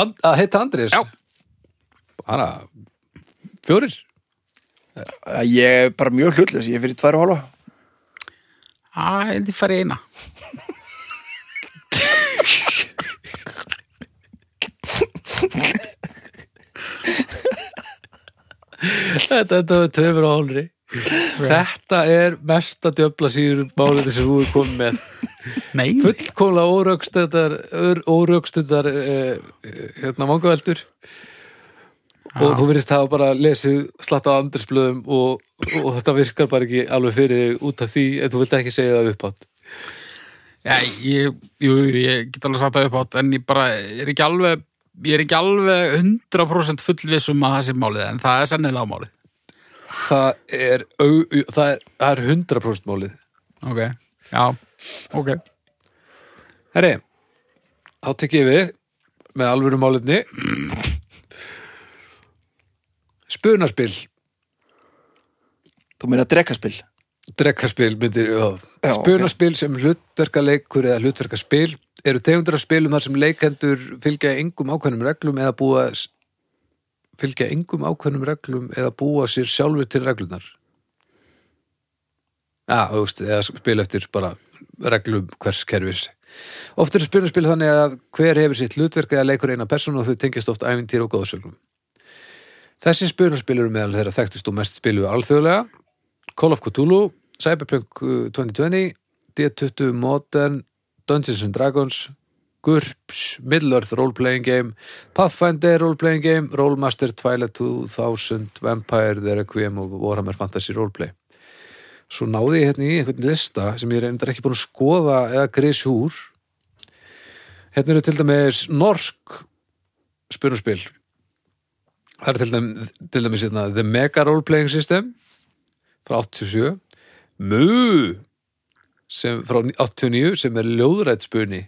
Speaker 2: And, Að heita Andrés
Speaker 3: Já.
Speaker 2: Bara fjórir
Speaker 1: Eh, Ég er bara mjög hlutlega, ég er fyrir tvær og hálfa.
Speaker 3: að þið farið eina
Speaker 2: Þetta, þetta er tveimur á hálfri Þetta er mesta djöfla síður málið sem þú er komið með
Speaker 3: Nei.
Speaker 2: fullkomlega órögstundar órögstundar eh, hérna vangaveldur og þú verðist hafa bara lesið slatt á andursblöðum og, og þetta virkar bara ekki alveg fyrir þig út af því en þú vilt ekki segja það upp átt
Speaker 3: já, ég, jú, jú, ég get alveg sagt það upp átt en ég bara er ekki alveg ég er ekki alveg 100% fullviss um að það sé málið en það er sennilega málið
Speaker 2: það er, au- það er, það er 100% málið
Speaker 3: ok, já, ok
Speaker 2: Herri, þá tek ég við með alvöru málefni Spunaspil
Speaker 1: Þú meina drekkaspil?
Speaker 2: Drekkaspil myndir já.
Speaker 1: Já,
Speaker 2: Spunaspil sem hlutverkaleikur eða hlutverkaspil eru tegundur af spilum þar sem leikendur fylgja engum ákveðnum reglum eða búa fylgja engum ákveðnum reglum eða búa sér sjálfur til reglunar Já, þú veist, eða spil eftir bara reglum hvers kerfis Oft eru spunaspil þannig að hver hefur sitt hlutverk eða leikur eina persónu og þau tengjast oft ævintýr og góðsögnum Þessi spunaspil eru meðal þeirra þekktust og mest spilu alþjóðlega Call of Cthulhu, Cyberpunk uh, 2020, D20 Modern, Dungeons and Dragons, GURPS, Middle-earth role-playing game, Pathfinder role-playing game, Rollmaster, Twilight 2000, Vampire, The Requiem og Warhammer Fantasy roleplay. Svo náði ég hérna í einhvern lista sem ég er einnig ekki búin að skoða eða grísja úr. Hérna eru til dæmis norsk spunarspil. Það eru til dæmis, til dæmis hérna, The Mega Role-Playing System, frá 87 Mú sem, frá 89 sem er ljóðrætt spuni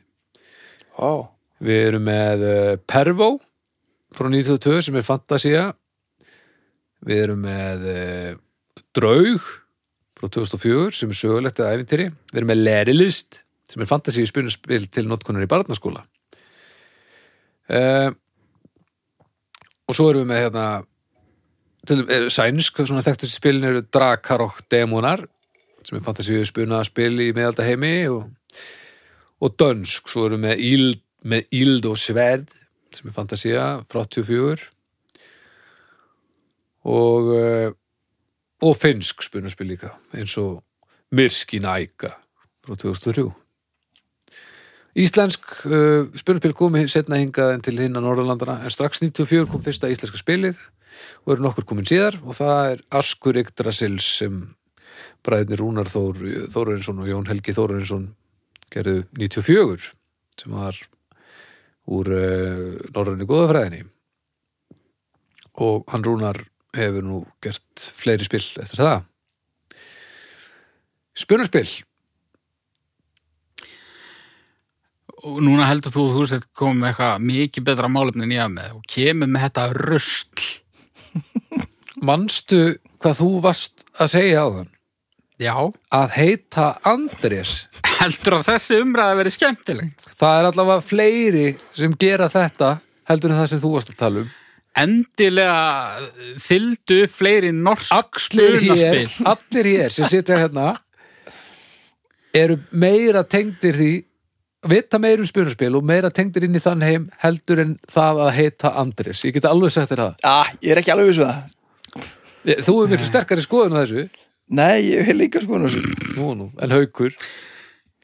Speaker 1: Ó,
Speaker 2: við erum með uh, Pervo frá 92 sem er Fantasia við erum með uh, Draug frá 2004 sem er sögulegt eða æfintýri við erum með Lerilist sem er Fantasíu spunaspil til notkunar í barnaskóla uh, og svo erum við með hérna til, er, sænsk, svona þekktustu spilin eru Drakarokk Demonar sem er Fantasíu spunaspil í meðalda heimi og og dönsk, svo erum við með íld, með íld og sverð sem er fantasia frá 84 og eh, og finnsk spunarspil líka eins og Mirski Næka frá 2003 Íslensk uh, spunarspil komi setna hingað en til hinn að Norðurlandana en strax 94 kom fyrsta íslenska spilið og eru nokkur komin síðar og það er Askur Yggdrasils sem bræðinir Rúnar Þór, Þórensson og Jón Helgi Þórensson gerðu 94 sem var úr uh, Norræni góðafræðinni og hann Rúnar hefur nú gert fleiri spil eftir það Spunarspil
Speaker 3: og núna heldur þú að þú sett komið með eitthvað mikið betra málefni en ég að með og kemur með þetta rusl
Speaker 2: Manstu hvað þú varst að segja á þann?
Speaker 3: já,
Speaker 2: Að heita Andrés
Speaker 3: heldur að þessi umræða verið skemmtileg
Speaker 2: Það er allavega fleiri sem gera þetta heldur en það sem þú varst að tala um
Speaker 3: endilega þyldu upp fleiri norsk
Speaker 2: allir hér,
Speaker 3: spunaspil
Speaker 2: allir hér sem sitja hérna eru meira tengdir því vita meira um spunarspil og meira tengdir inn í þann heim heldur en það að heita Andrés ég get alveg sagt þér það
Speaker 1: ah, ég er ekki alveg vissu það
Speaker 2: Ég- þú er miklu sterkari skoðun á þessu
Speaker 1: nei, ég hef líka sko já,
Speaker 2: nú, nú, en haukur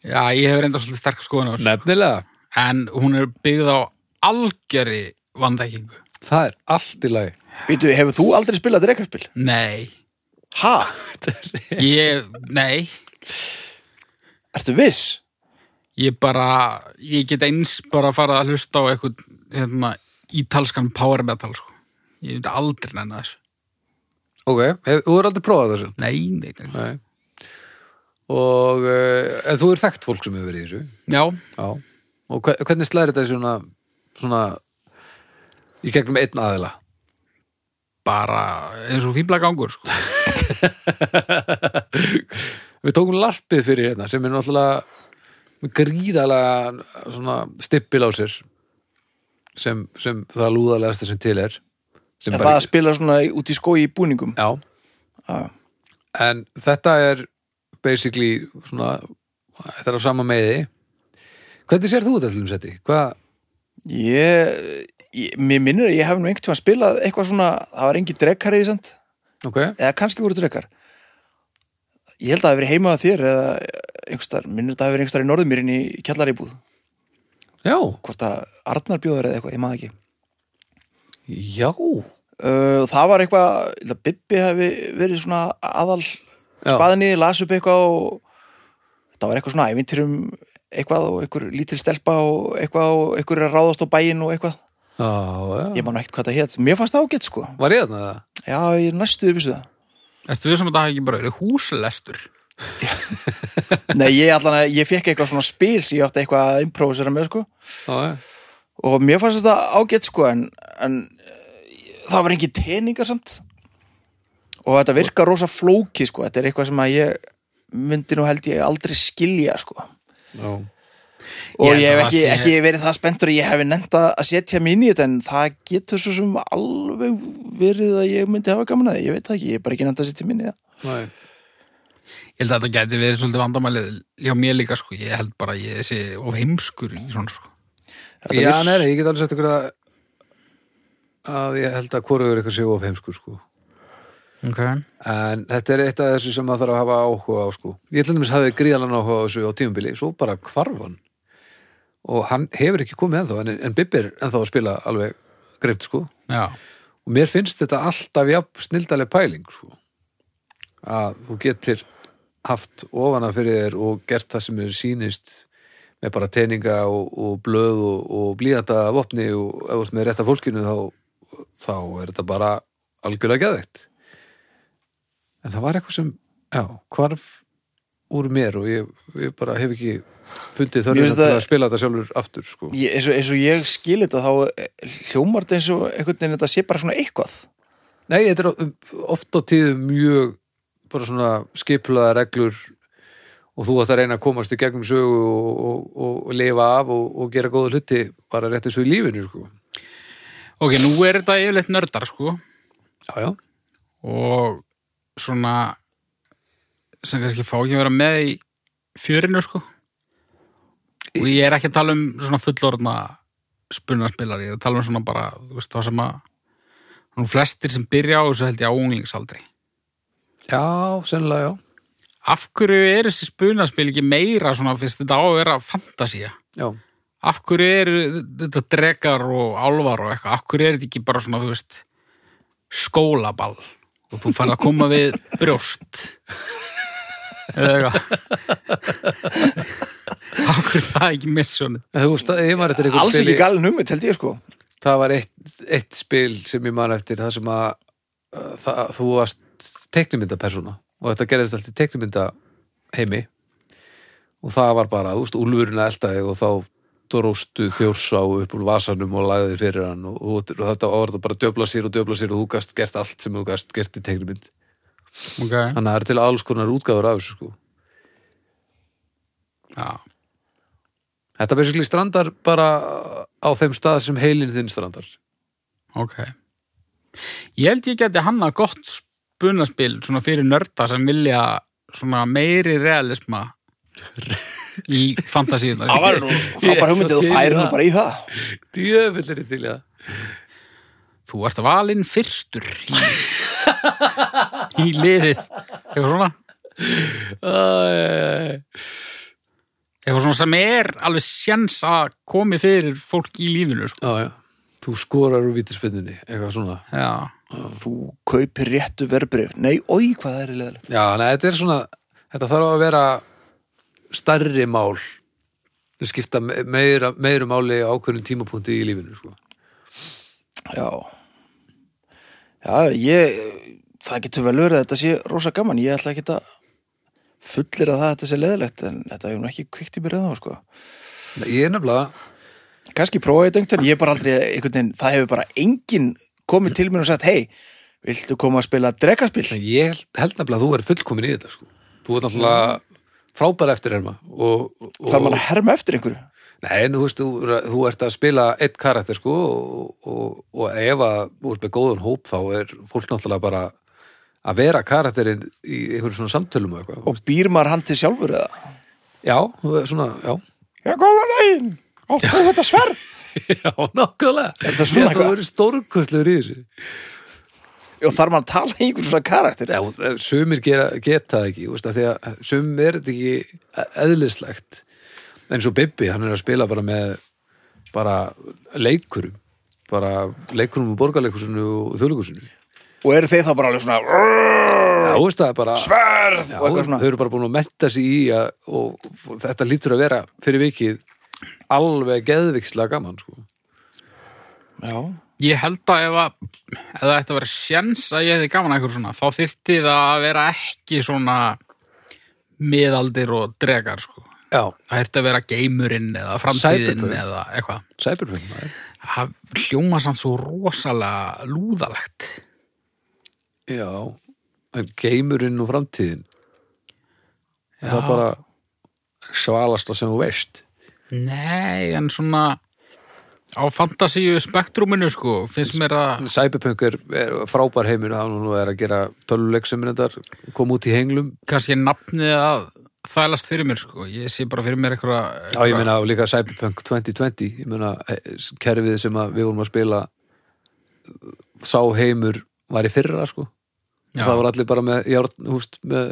Speaker 3: já, ég hefur enda svolítið sterk skoðan á þessu
Speaker 2: nefnilega,
Speaker 3: en hún er byggð á algjörri vandækingu
Speaker 2: það er allt í lagi
Speaker 1: býtu, hefur þú aldrei spilað drekkarspil?
Speaker 3: nei,
Speaker 1: ha,
Speaker 3: ég, nei
Speaker 1: ertu viss?
Speaker 3: ég bara, ég get eins bara að fara að hlusta á eitthvað hérna, ítalskan power metal sko. ég myndi aldrei nenni þessu
Speaker 2: ok, hef, þú er aldrei prófað þessu
Speaker 3: nei, nei, nei,
Speaker 2: Nei. og uh, en þú er þekkt fólk sem hefur verið í þessu
Speaker 3: já
Speaker 2: já, og hve- hvernig slæri þetta í svona, svona í gegnum einn aðila
Speaker 3: bara eins og fíbla gangur sko.
Speaker 2: Við tókum larpið fyrir hérna sem er náttúrulega með gríðalega svona stippil á sér sem, sem það lúðalegasta sem til er sem
Speaker 1: En það að spila svona í- út í skói í búningum
Speaker 2: Já,
Speaker 1: Já,
Speaker 2: en þetta er basically svona þetta er á sama meði Hvernig sér þú þetta til um setti? Hvað,
Speaker 1: ég, ég, mér minnir að ég hef nú einhvern tímann spilað eitthvað svona, það var engin drekkar eða samt,
Speaker 2: ok,
Speaker 1: eða kannski voru drekkar ég held að það hafi verið heima að þér eða einhverstaðar, minnir að það hafi verið einhverstaðar í norðumýrin í kjallaríbúð,
Speaker 2: já
Speaker 1: hvort að Arnar bjóður eða eitthvað, ég maður ekki
Speaker 2: Já,
Speaker 1: uh, það var eitthvað, ég held að Bibbi hafi verið svona aðal
Speaker 2: já,
Speaker 1: spaðinni, las upp eitthvað og það var eitthvað svona ævintýrum eitthvað og einhver lítil stelpa og eitthvað og einhver er að ráðast á bæinn og eitthvað
Speaker 2: já, já.
Speaker 1: ég man ekki hvað það hétt, mér fannst það ágætt sko
Speaker 2: Var ég þarna það?
Speaker 1: já, ég er næstuði vissu það
Speaker 3: ertu við sem að það hafi ekki bara verið húslestur
Speaker 1: nei, ég allan að, ég fekk eitthvað svona spil sem ég átti eitthvað að improvisera með sko
Speaker 2: Já, já.
Speaker 1: og mér fannst þetta ágætt sko en, en eh, það var engin teningar samt og þetta virkar rosa flóki sko þetta er eitthvað sem að ég myndi nú held ég aldrei skilja sko
Speaker 2: já.
Speaker 1: og
Speaker 3: Ég
Speaker 1: ég hef
Speaker 3: held að
Speaker 1: ekki,
Speaker 3: það sé-
Speaker 1: ekki verið það spenntur að ég hef nefnt að setja mig inn í þetta en það getur svo sem alveg verið að ég myndi hafa gaman að því, ég veit það ekki, ég er bara ekki nefnt að setja mig inn í það
Speaker 2: Nei.
Speaker 3: ég held að þetta gæti verið svolítið vandamælið hjá mér líka, sko. ég held bara að ég sé of heimskur í svona sko.
Speaker 1: Þetta
Speaker 2: Já,
Speaker 1: vill-
Speaker 2: nei, nei, ég get alveg sagt ykkur að að ég held að hvorugur ykkur séu of heimskur sko
Speaker 3: okay.
Speaker 2: en þetta er eitt af þessu sem maður þarf að hafa áhuga á sko ég til dæmis hafði gríðalann áhuga á þessu á tímubili svo bara hvarf hann og hann hefur ekki komið ennþá en, en Bibbi er ennþá að spila alveg greimt sko
Speaker 3: já,
Speaker 2: og mér finnst þetta alltaf jafn snildaleg pæling sko að þú getur haft ofana fyrir þér og gert það sem er sýnist með bara teininga og, og blöð og, og blíðata vopni og ef þú ert með rétta fólkinu þá, þá er þetta bara algjörlega geðveikt en það var eitthvað sem já, hvarf úr mér og ég, ég bara hef ekki fundið
Speaker 1: Mér
Speaker 2: þörfina
Speaker 1: finnst
Speaker 2: til
Speaker 1: það-
Speaker 2: að spila þetta sjálfur aftur sko.
Speaker 1: ég, eins, og, eins og ég skil þetta þá eh, hljómar þetta eins og einhvern veginn þetta sé bara svona eitthvað
Speaker 2: Nei, þetta er oft á tíðum mjög bara svona skipulaða reglur og þú ætti að reyna að komast í gegnum sögu og, og, og, og lifa af og, og gera góða hluti bara rétt eins og í lífinu sko.
Speaker 3: ok, nú er þetta yfirleitt nördar sko.
Speaker 2: Já, já,
Speaker 3: og svona sem kannski fá ekki að vera með í fjörinu sko og ég er ekki að tala um svona fullorðna spunarspilar, ég er að tala um svona bara þú veist þá sem að svona flestir sem byrja á þessu held ég á unglingsaldri
Speaker 2: já, sennilega já
Speaker 3: af hverju eru þessi spunarspil ekki meira svona fyrst þetta á að vera fantasía
Speaker 2: Já,
Speaker 3: af hverju eru þetta drekar og álvar og eitthvað, af hverju er þetta ekki bara svona, þú veist, skólaball og þú farið að koma við brjóst eða eitthvað Akkur það er ekki missunni
Speaker 2: En Þú veist, ég maður þetta
Speaker 1: Alls ekki galin hugmynd, held ég sko.
Speaker 2: það var eitt, eitt spil sem ég man eftir það sem að uh, það, þú varst teiknumyndapersóna og þetta gerðist allt í teiknumynda heimi og það var bara, þú veist, úlfurinn eldaði og þá dróstu þjórsá upp úr vasanum og lagði þér fyrir hann og, og, og þetta var þetta bara döbla sér og döbla sér og þú gast gert allt sem þú gast gert í teiknumynd
Speaker 3: okay.
Speaker 2: þannig að það er til alls konar útgáfur af þessu sko
Speaker 3: Já,
Speaker 2: þetta basically strandar bara á þeim stað sem heilin þinn strandar
Speaker 3: ok Ég held ég geti hanna gott spunaspil svona fyrir nörda sem vilja svona meiri realisma í fantasíunar
Speaker 1: Það var nú frábær
Speaker 2: Ég er
Speaker 1: hugmynd
Speaker 2: svo
Speaker 1: og
Speaker 2: til í
Speaker 1: færi nú
Speaker 2: það.
Speaker 1: bara í það.
Speaker 2: djöfull er ég til í það
Speaker 3: Þú ert valinn fyrstur í, í liðið eitthvað svona
Speaker 2: Æ,
Speaker 3: eitthvað svona sem er alveg sjens að komi fyrir fólk í lífinu sko.
Speaker 2: Já, já. Þú skorar úr vítaspinninni, eitthvað svona.
Speaker 3: Já,
Speaker 1: Þú kaupir réttu verbrif. Nei, oi, hvað það er leðilegt.
Speaker 2: Já, neða, þetta er svona, þetta þarf að vera starri mál. Það skipta me- meira, meira máli á ákveðnum tímapunkti í lífinu, sko.
Speaker 1: Já. Já, ég, það getur vel verið að þetta sé rosa gaman. Ég ætla ekki að fullir að það þetta sé leðilegt, en þetta er nú ekki kvikt í mér eða, sko.
Speaker 2: Nei, Ég er nefnilega,
Speaker 1: kannski prófaði þetta einhvern veginn, ég er bara aldrei einhvern veginn, það hefur bara enginn komið til mér og sagt, hei, viltu koma að spila
Speaker 2: nei,
Speaker 1: drekaspil?
Speaker 2: ég held, held nefnilega að þú er fullkomin í þetta, sko. Þú er náttúrulega frábær eftir herma og, og
Speaker 1: Þarf maður að herma eftir einhverju?
Speaker 2: Nei, en þú veist, þú, þú ert að spila eitt karakter, sko, og, og, og ef að þú ert með góðan hóp þá er fólk náttúrulega bara að vera karakterinn í einhverjum svona samtölum og eitthvað.
Speaker 1: Og býr maður hann til sjálfur eða?
Speaker 2: Já, svona, já.
Speaker 1: Já, góða daginn! Óttu þetta sverð!
Speaker 2: Já, nákvæmlega. Ég held
Speaker 1: Er þetta svona
Speaker 2: að
Speaker 1: eitthvað?
Speaker 2: Það voru stórkostlegur í þessu.
Speaker 1: Og þarf maður að tala í einhvern svona karakter?
Speaker 2: Já, eh, sumir gera, geta það ekki, þú veist, að því að sumir er þetta ekki e, eðlislegt. En svo Bibbi, hann er að spila bara með bara leikurum. Bara leikurum úr borgarleikusinu og þjóðleikusinu.
Speaker 1: Og eru þeir þá bara alveg svona
Speaker 2: Já, þú veist, það er bara...
Speaker 1: sverð
Speaker 2: Já,
Speaker 1: og eitthvað svona?
Speaker 2: þau eru bara búin að metta sig í að, og og þetta lítur að vera fyrir vikið alveg geðvikslega gaman sko.
Speaker 1: Já.
Speaker 3: ég held að ef, að, ef það ætti að vera sjens að ég hefði gaman að eitthvað svona þá þyrfti það að vera ekki svona miðaldir og dregar sko.
Speaker 2: Já,
Speaker 3: það ætti að vera geimurinn eða framtíðin
Speaker 2: Cyberpunk.
Speaker 3: eða eitthvað
Speaker 2: Cyberpunk maður.
Speaker 3: það hljóma samt svo rosalega lúðalegt
Speaker 2: Já, en geimurinn og framtíðin Já. það er bara svalasta sem þú veist
Speaker 3: nei, en svona á fantasíu spektruminu sko, finnst mér að
Speaker 2: En Cyberpunk er, er frábær heimur það nú er að gera töluleik sem er þetta kom út í henglum
Speaker 3: kannski nafnið að þælast fyrir mér sko, ég sé bara fyrir mér eitthvað
Speaker 2: Já, ég meina og líka Cyberpunk 2020 ég meina eh, kerfið sem að við vorum að spila sá heimur var í fyrra sko
Speaker 3: Já.
Speaker 2: það voru allir bara með, járn, húst, með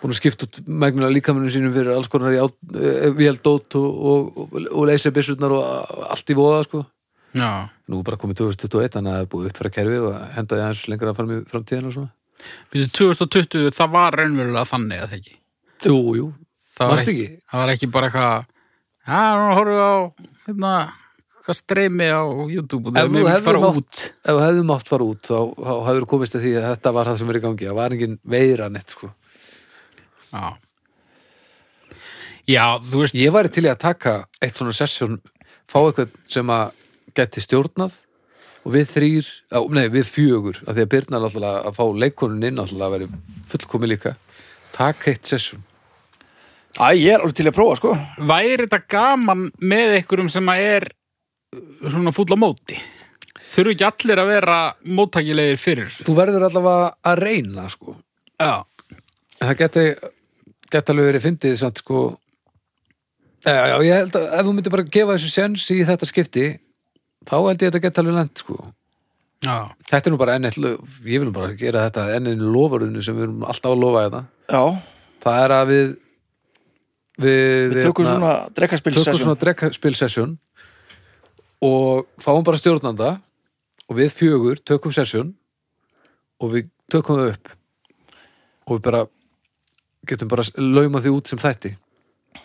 Speaker 2: búin að skipta út megnulega líkamennum sínum fyrir alls konar járn, eh, véldót og, og, og, og leysebissurnar og a- allt í voða sko.
Speaker 3: já.
Speaker 2: Nú er bara komið 2021 þannig að það er búið upp fyrir kerfi og hendaði aðeins lengra fram í framtíðin og svona.
Speaker 3: Býtu 2020, það var raunverulega þannig að það ekki.
Speaker 2: Jú, jú,
Speaker 3: Það var
Speaker 2: Varstu ekki?
Speaker 3: Það var ekki bara eitthvað, já, nú horfum við á, hérna, hvað streymi á YouTube og
Speaker 2: Ef
Speaker 3: það
Speaker 2: þú hefðir
Speaker 3: er mjög fara
Speaker 2: mátt-
Speaker 3: út.
Speaker 2: ef við hefðum átt fara út þá, þá hefur komist að því að þetta var það sem er í gangi, það var engin veira neitt sko.
Speaker 3: Já. já, þú veist,
Speaker 2: Ég væri til í að taka eitt svona sessjón, fá eitthvað sem að geti stjórnað og við þrýr, á, nei við fjögur af því að Birna er alltaf að fá leikonin inn alltaf að veri fullkomi líka taka eitt sessjón
Speaker 1: Æ, ég er alveg til að prófa, sko.
Speaker 3: væri þetta gaman með einhverjum sem að er svona fúll á móti? Þurfu ekki allir að vera móttakilegir fyrir þessu?
Speaker 2: Þú verður allavega að reyna sko
Speaker 3: Já.
Speaker 2: En það geti, geti alveg verið fyndið samt sko Já, já, ég held að ef þú myndir bara gefa þessu sens í þetta skipti þá held ég að þetta geti alveg lent sko
Speaker 3: Já.
Speaker 2: Þetta er nú bara enn eitt, lo- ég vil bara gera þetta enn einu lofurðinu sem við erum alltaf að lofa þetta
Speaker 1: Já,
Speaker 2: það er að við við,
Speaker 1: við tökum
Speaker 2: hérna,
Speaker 1: svona drekaspil
Speaker 2: tökum svona drekkspilsessjón og fáum bara stjórnanda og við fjögur tökum sessjón og við tökum það upp og við bara getum bara lauma því út sem þætti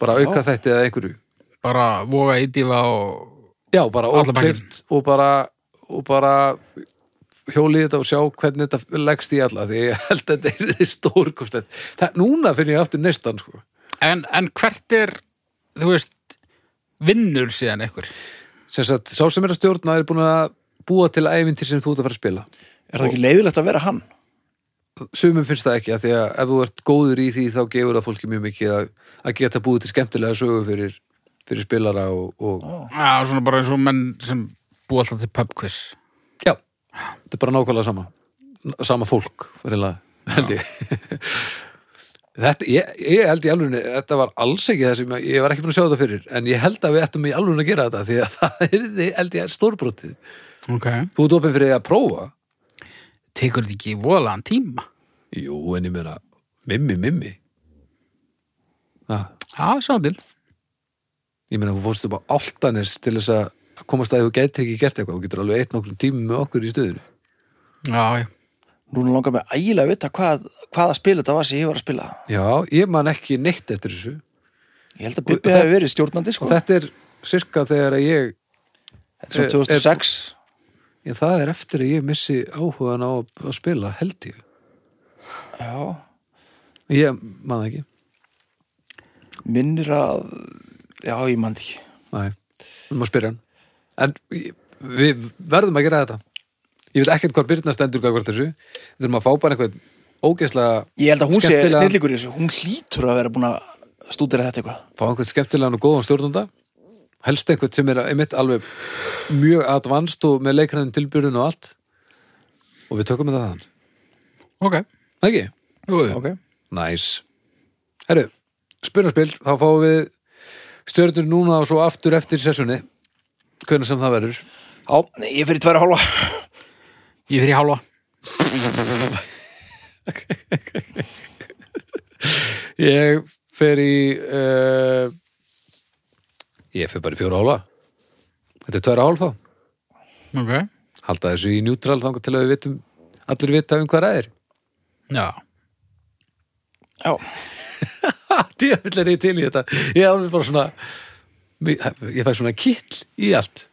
Speaker 2: bara auka þætti eða einhverju
Speaker 3: bara voga ídýfa og
Speaker 2: já, bara
Speaker 3: Alla bakið.
Speaker 2: óklift og bara, og bara hjólið þetta og sjá hvernig þetta leggst í alla því ég held að þetta er því stórkostlega það, núna finn ég aftur nestan sko.
Speaker 3: en, en hvert er, þú veist vinnur síðan einhver
Speaker 2: sem sagt, sá sem er að stjórna er búin að búa til æfintir sem þú ert að fara að spila
Speaker 1: Er það ekki leiðilegt að vera hann?
Speaker 2: sumum finnst það ekki að því að ef þú ert góður í því þá gefur það fólki mjög mikið að, að geta búið til skemmtilega sögu fyrir, fyrir spilara og, og
Speaker 3: Já, svona bara eins og menn sem búa alltaf til pub quiz
Speaker 2: já, þetta er bara nákvæmlega sama N- sama fólk, reyla, held ég þetta, ég, ég held í alveg þetta var alls ekki það sem ég- ég var ekki búin að sjá þetta fyrir en ég held að við ættum í alveg að gera þetta því að það er held ég stórbrotið
Speaker 3: Ok
Speaker 2: þú ert opið fyrir að prófa
Speaker 3: Tekur þetta ekki voðalega tíma
Speaker 2: jú, en ég meina, mimmi, mimmi ah.
Speaker 3: Já, sjá til
Speaker 2: Ég meina, þú fórst upp á áltanis til þess að að komast að þú gætir ekki gert eitthvað, þú getur alveg eitt nokkrum tímum með okkur í stöðinu.
Speaker 3: Já, já
Speaker 1: Núna langar mig ægilega að vita hvað, hvaða spil þetta var sem ég var að spila.
Speaker 2: Já, ég man ekki neitt eftir þessu.
Speaker 1: Ég held að
Speaker 2: Og
Speaker 1: Bubbi
Speaker 2: það-
Speaker 1: hefði verið stjórnandi, sko.
Speaker 2: Og þetta er sirka þegar að ég,
Speaker 1: Þetta er
Speaker 2: er-
Speaker 1: svo 2006.
Speaker 2: ég, það er eftir að ég missi áhugan á að, að spila, held ég.
Speaker 1: Já,
Speaker 2: Ég man það ekki.
Speaker 1: minnir að, já, ég mann ekki.
Speaker 2: Næ, við maður spyrja hann. En ég- við verðum að gera þetta. Ég veit ekkert hvað Birna stendur hvað hvert þessu. Við þurfum að fá bara einhvern ógeðslega
Speaker 1: Ég held að hún sé
Speaker 2: Skemmtilega-
Speaker 1: snillíkur í þessu. Hún hlýtur að vera búin að stúdera þetta eitthvað.
Speaker 2: fá einhvern skemmtilegan og góðan stjórnanda helst einhvern sem er einmitt alveg mjög advanced og með leikræðin tilbyrjun og allt og við tökum þetta þann
Speaker 3: Ok
Speaker 2: Það ekki?
Speaker 3: Jú, jú.
Speaker 1: Ok.
Speaker 2: Næs Herru, spurnarspil, þá fáum við stjörnur núna og svo aftur eftir sessunni hvernig sem það verður
Speaker 1: Já, ég fyrir tværa hálfa.
Speaker 3: Ég fyrir í hálfa
Speaker 2: Ég fer í uh, ég fer bara í fjóra ála Þetta er tværa ál þá
Speaker 3: Ok
Speaker 2: Halda þessu í neutral þangar til að við vitum allir vita um hvað ræðir
Speaker 3: Já
Speaker 1: Já,
Speaker 2: djöfull er ég til í þetta ég er alveg bara svona ég fæ svona kittl í allt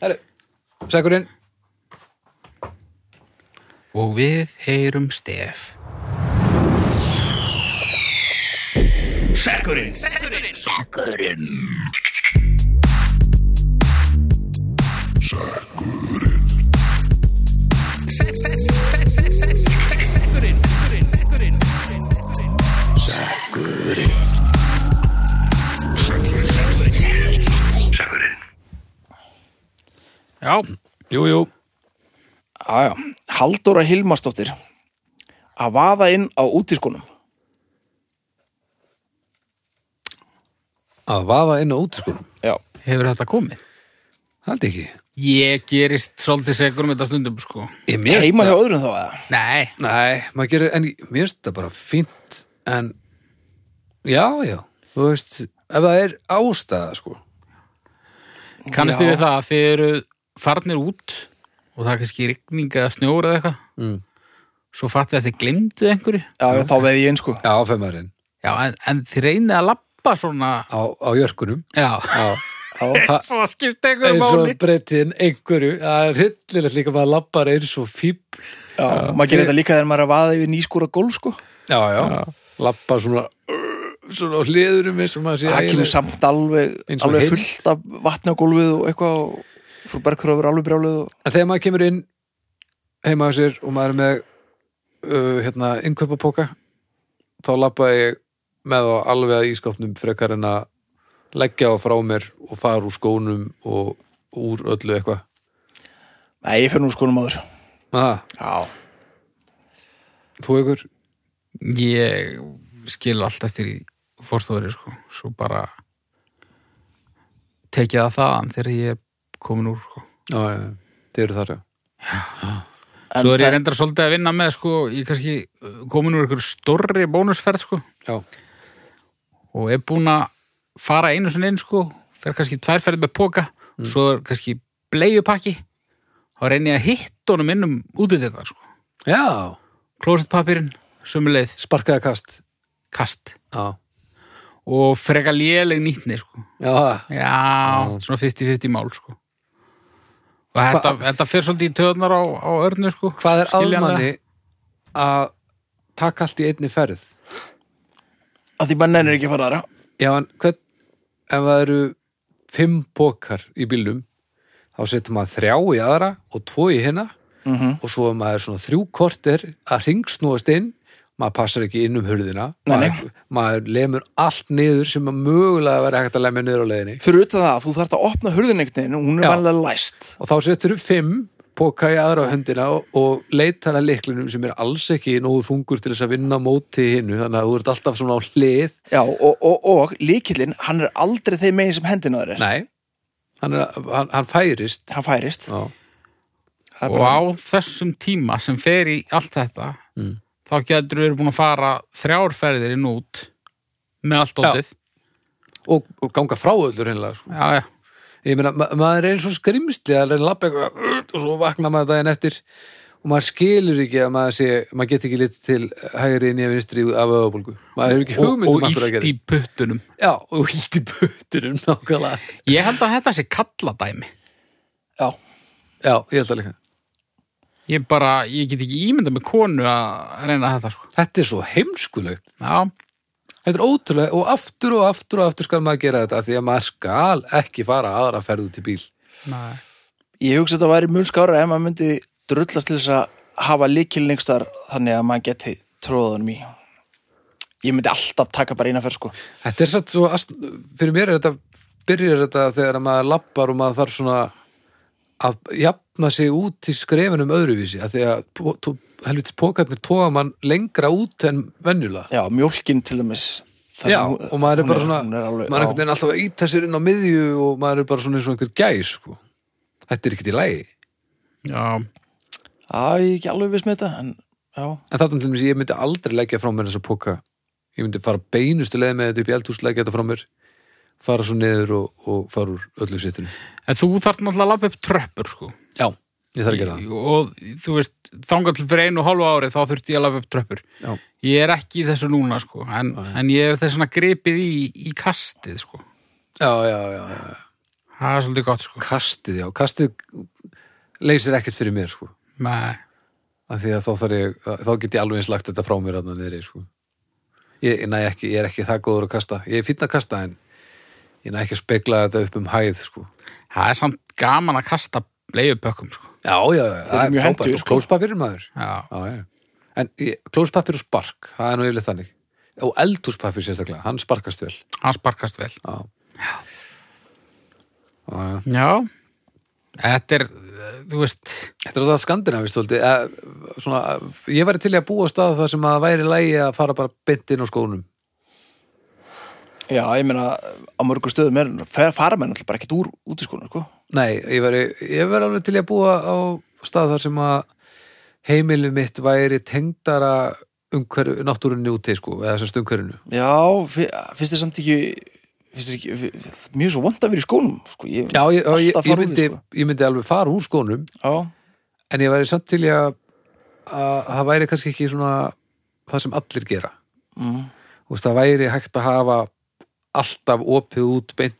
Speaker 2: Herru Sækurinn,
Speaker 3: Og við heyrum stef Já,
Speaker 2: jú, jú
Speaker 1: já, já. Halldóra Hilmarsdóttir. Að vaða inn á útiskunum.
Speaker 2: að vaða inn á útiskunum,
Speaker 1: Já.
Speaker 3: hefur þetta komið?
Speaker 2: held ekki
Speaker 3: Ég gerist svolítið segur um þetta stundum, sko.
Speaker 2: ég
Speaker 1: Heima hjá öðrum þá eða?
Speaker 3: Nei,
Speaker 2: nei, maður gerir, en ég- mér finnst þetta bara fínt en já, já, þú veist ef það er ástæða, sko
Speaker 3: kannast
Speaker 1: Já.
Speaker 3: þið við það að þið eru farnir út og það er kannski rigning eða snjór eða eitthvað
Speaker 2: mm.
Speaker 3: svo fattið að þið glemduð einhverju
Speaker 1: Já, þá veði ég inn sko.
Speaker 2: já, femmarinn,
Speaker 3: já, en, en þið reynið að lappa svona
Speaker 2: á, á jörkunum
Speaker 3: já,
Speaker 2: já,
Speaker 1: Já.
Speaker 2: Ha-
Speaker 3: svo skipta einhverju
Speaker 2: eins og
Speaker 3: máli
Speaker 2: breytin einhverju, það er hryllilegt líka maður lappar eins og fíbl
Speaker 1: Já, maður gerir þetta líka þegar maður er að vaða yfir nýskúra gólf sko.
Speaker 2: já, já. lappa svona svona á hliðurum eins og maður sé
Speaker 1: Það kemur
Speaker 2: eiginlega-
Speaker 1: samt alveg,
Speaker 2: Eins og
Speaker 1: alveg
Speaker 2: heill.
Speaker 1: fullt af vatni á gólfið og eitthvað og frú Bergkröfur alveg brjálið og
Speaker 2: en þegar maður kemur inn heima á sér og maður er með uh, hérna, innkaupapoka þá lappa ég með á alveg að ískapnum frekar en að leggja á frá mér og fara úr skónum og úr öllu eitthvað
Speaker 1: Nei, ég fyrir nú skoðum áður
Speaker 2: ah,
Speaker 1: Já,
Speaker 2: þú ykkur
Speaker 3: ég skil allt eftir í fórstofari sko, svo bara tekið það þaðan þegar ég er komin úr sko.
Speaker 2: já, já, já. þið eru þar já
Speaker 1: En
Speaker 3: svo er ég
Speaker 1: það-
Speaker 3: reyndar svolítið að vinna með sko, ég er kannski uh, komin úr einhverju stórri bónusferð sko
Speaker 2: já,
Speaker 3: og er búin að fara einu sinni inn sko, fer kannski tværferð með póka,
Speaker 2: Mm.
Speaker 3: svo er kannski bleiupakki, þá reyni ég að hitt honum inn um útið þetta sko,
Speaker 2: já,
Speaker 3: klósetpapirinn sömu leið,
Speaker 2: Sparkaða kast
Speaker 3: kast
Speaker 2: Já,
Speaker 3: og freka léleg nýtni sko.
Speaker 2: já,
Speaker 3: já, svona 50-50 mál sko. og þetta, þetta fer svolítið í töðnar á, á örnu sko.
Speaker 2: hvað er
Speaker 3: skiljanlega.
Speaker 2: almanni að taka allt í einni ferð
Speaker 1: að því mann ennir ekki að fara aðra
Speaker 2: Já, en hvern ef það eru fimm bókar í bílnum þá setur maður þrjá í aðra og tvo í hinna
Speaker 1: mm
Speaker 2: og svo er maður svona þrjú korter að ringsnúast inn maður passar ekki inn um hurðina
Speaker 1: Nei, nei.
Speaker 2: maður, maður lemur allt niður sem að mögulega verið hægt að lemja niður á leiðinni
Speaker 1: fyrir utan það að þú þarft að opna hurðinegnin og hún er
Speaker 2: Já.
Speaker 1: vanlega læst
Speaker 2: og þá setur þú fimm póka í aðra höndina og, og leitar að leiklinum sem er alls ekki nógu þungur til þess að vinna á móti hinnu þannig að þú ert alltaf svona á hlið
Speaker 1: Já, og, og, og líkillinn, hann er aldrei þeim megin sem hendin á þér er.
Speaker 2: nei, hann, er, hann, hann færist
Speaker 1: Hann færist.
Speaker 2: Já.
Speaker 1: Það er
Speaker 3: og
Speaker 1: bara-
Speaker 3: á þessum tíma sem fer í allt þetta
Speaker 2: Mm.
Speaker 3: þá getur við búin að fara þrjárferðir inn og út með allt óttið
Speaker 2: og, og ganga frá öllur hinnlega sko.
Speaker 3: já, já,
Speaker 2: ég meina, ma maður er eins og skrimsli að reyna að labba eitthvað "Urt", og svo vakna maður daginn eftir og maður skilur ekki að maður sé maður get ekki litið til hægri inn í að vinstri af öðabólgu, maður hefur ekki
Speaker 3: og,
Speaker 2: hugmynd
Speaker 3: og
Speaker 2: um af hverju það
Speaker 3: illt í
Speaker 2: gerist.
Speaker 3: puttunum
Speaker 2: Já, og illt í bötunum nákvæmlega,
Speaker 3: ég held að þetta sé kalladæmi
Speaker 1: Já,
Speaker 2: já, ég held að líka
Speaker 3: ég bara, ég get ekki ímyndað með konu að reyna þetta sko
Speaker 2: þetta er svo heimskulegt
Speaker 3: já,
Speaker 2: þetta er ótrúlega og aftur og aftur og aftur skal maður gera þetta af því að maður skal ekki fara aðra ferðu til bíl
Speaker 3: nei
Speaker 1: ég hugsa að þetta væri mun skára ef maður myndi drullast til þess að hafa líkillningstar þannig að maður geti tróðunum í. Ég myndi alltaf taka bara eina ferð, sko.
Speaker 2: þetta er satt svo, ast- fyrir mér er þetta byrjar þetta þegar að maður lappar og maður þarf svona að jafna sig út í skrefinum öðruvísi af því að po- tó- helvitis pókarnir tóa mann lengra út en venjulega
Speaker 1: Já, mjólkin til dæmis. það sem
Speaker 2: Já,
Speaker 1: hún-
Speaker 2: og maður er
Speaker 1: hún
Speaker 2: bara svona
Speaker 1: hún
Speaker 2: maður er
Speaker 1: alveg- já.
Speaker 2: einhvern veginn alltaf að íta sér inn á miðju og maður er bara svona eins og einhver gæs sko. þetta er ekkert í lægi
Speaker 3: Já,
Speaker 1: Já, ég er ekki alveg viss með þetta, en já.
Speaker 2: En þarna til dæmis, ég myndi aldrei leggja frá mér þessa póka. Ég myndi fara beinustu leið með þetta upp í eldhús, leggja þetta frá mér, fara svo niður og, og fara úr öllu sittunum.
Speaker 3: en þú þarf náttúrulega að lappa upp tröppur sko
Speaker 2: Já, ég þarf að gera það.
Speaker 3: og þú veist, þangar til fyrir einu og hálfu ári þá þurfti ég að lappa upp tröppur
Speaker 2: Já.
Speaker 3: ég er ekki í þessu núna sko en, en ég hef þess svona gripið í, í kastið sko
Speaker 2: Já, já, já, já.
Speaker 3: það er svolítið gott sko
Speaker 2: Kastið, já. Kastið leysir ekkert fyrir mér, sko.
Speaker 3: Nei.
Speaker 2: Af því að þá þarf ég, þá get ég alveg eins lagt þetta frá mér aðna niðri, sko. Ég, næ, ekki, ég er ekki það góður að kasta. Ég er fínn að kasta, en ég næ ekki að spegla þetta upp um hæð, sko.
Speaker 3: það er samt gaman að kasta leiðupökkum sko
Speaker 2: Já, já, já. Það frábært.
Speaker 1: mjög hentugir,
Speaker 2: Og
Speaker 1: sko.
Speaker 2: klóspapírinn, maður.
Speaker 3: já,
Speaker 2: Já, já. En ég- klóspapír og spark, það er nú yfirleitt þannig. Og eldúspapír sérstaklega, hann sparkast vel.
Speaker 3: hann sparkast vel
Speaker 2: Já. Já, já.
Speaker 3: já, þetta er eh, þú veist,
Speaker 2: Þetta er það skandinavist, þóldi. Svona, eh, ég væri til í að búa á stað þar sem að væri lægi að fara bara beint inn á skónum.
Speaker 1: Já, ég meina, á mörgum stöðum er, fer- fara menn alltaf bara ekkert úr út í skóna, sko.
Speaker 2: Nei, ég væri, ég væri alveg til í að búa á stað þar sem að heimilum mitt væri tengdara umhverju, náttúrunni úti, sko, eða þessast umhverjunu.
Speaker 1: Já, fi- finnst þér samt ekki, finnst þér ekki, fi- fi- mjög svo vond að vera í skónum, sko. Ég,
Speaker 2: Já, ég, ég,
Speaker 1: Alltaf
Speaker 2: ég,
Speaker 1: fara út í,
Speaker 2: myndi,
Speaker 1: sko.
Speaker 2: ég myndi alveg fara úr skónum
Speaker 1: já.
Speaker 2: en ég væri samt til í að að það væri kannski ekki svona það sem allir gera
Speaker 1: Mm.
Speaker 2: Þú veist, það væri hægt að hafa alltaf opið út beint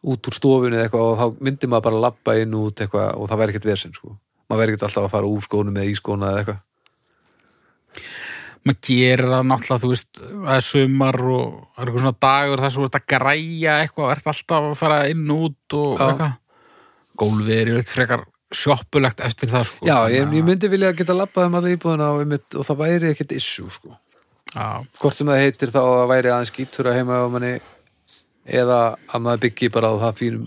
Speaker 2: út úr stofunni eða eitthvað og þá myndi maður bara labba inn og út eitthvað og það væri ekkert vesinn sko maður væri ekkert alltaf að fara úr skónum eða í skóna eða eitthvað
Speaker 3: maður gerir það náttúrulega þú veist, það er sumar og það er eitthvað svona dagur þar sem þú ert að græja eitthvað og ert alltaf að fara inn og út og
Speaker 2: Já.
Speaker 3: eitthvað gólfið er eitthvað frekar sjoppulegt eftir það sko
Speaker 2: Já, ég,
Speaker 3: Þannig
Speaker 2: ég
Speaker 3: að-
Speaker 2: myndi vilja geta labbað um alla íbúðina og, einmitt, og það væri ekkert issue sko
Speaker 3: Já,
Speaker 2: hvort sem það heitir þá að það væri aðeins skítur að heima á manni eða að maður byggi bara á það fínum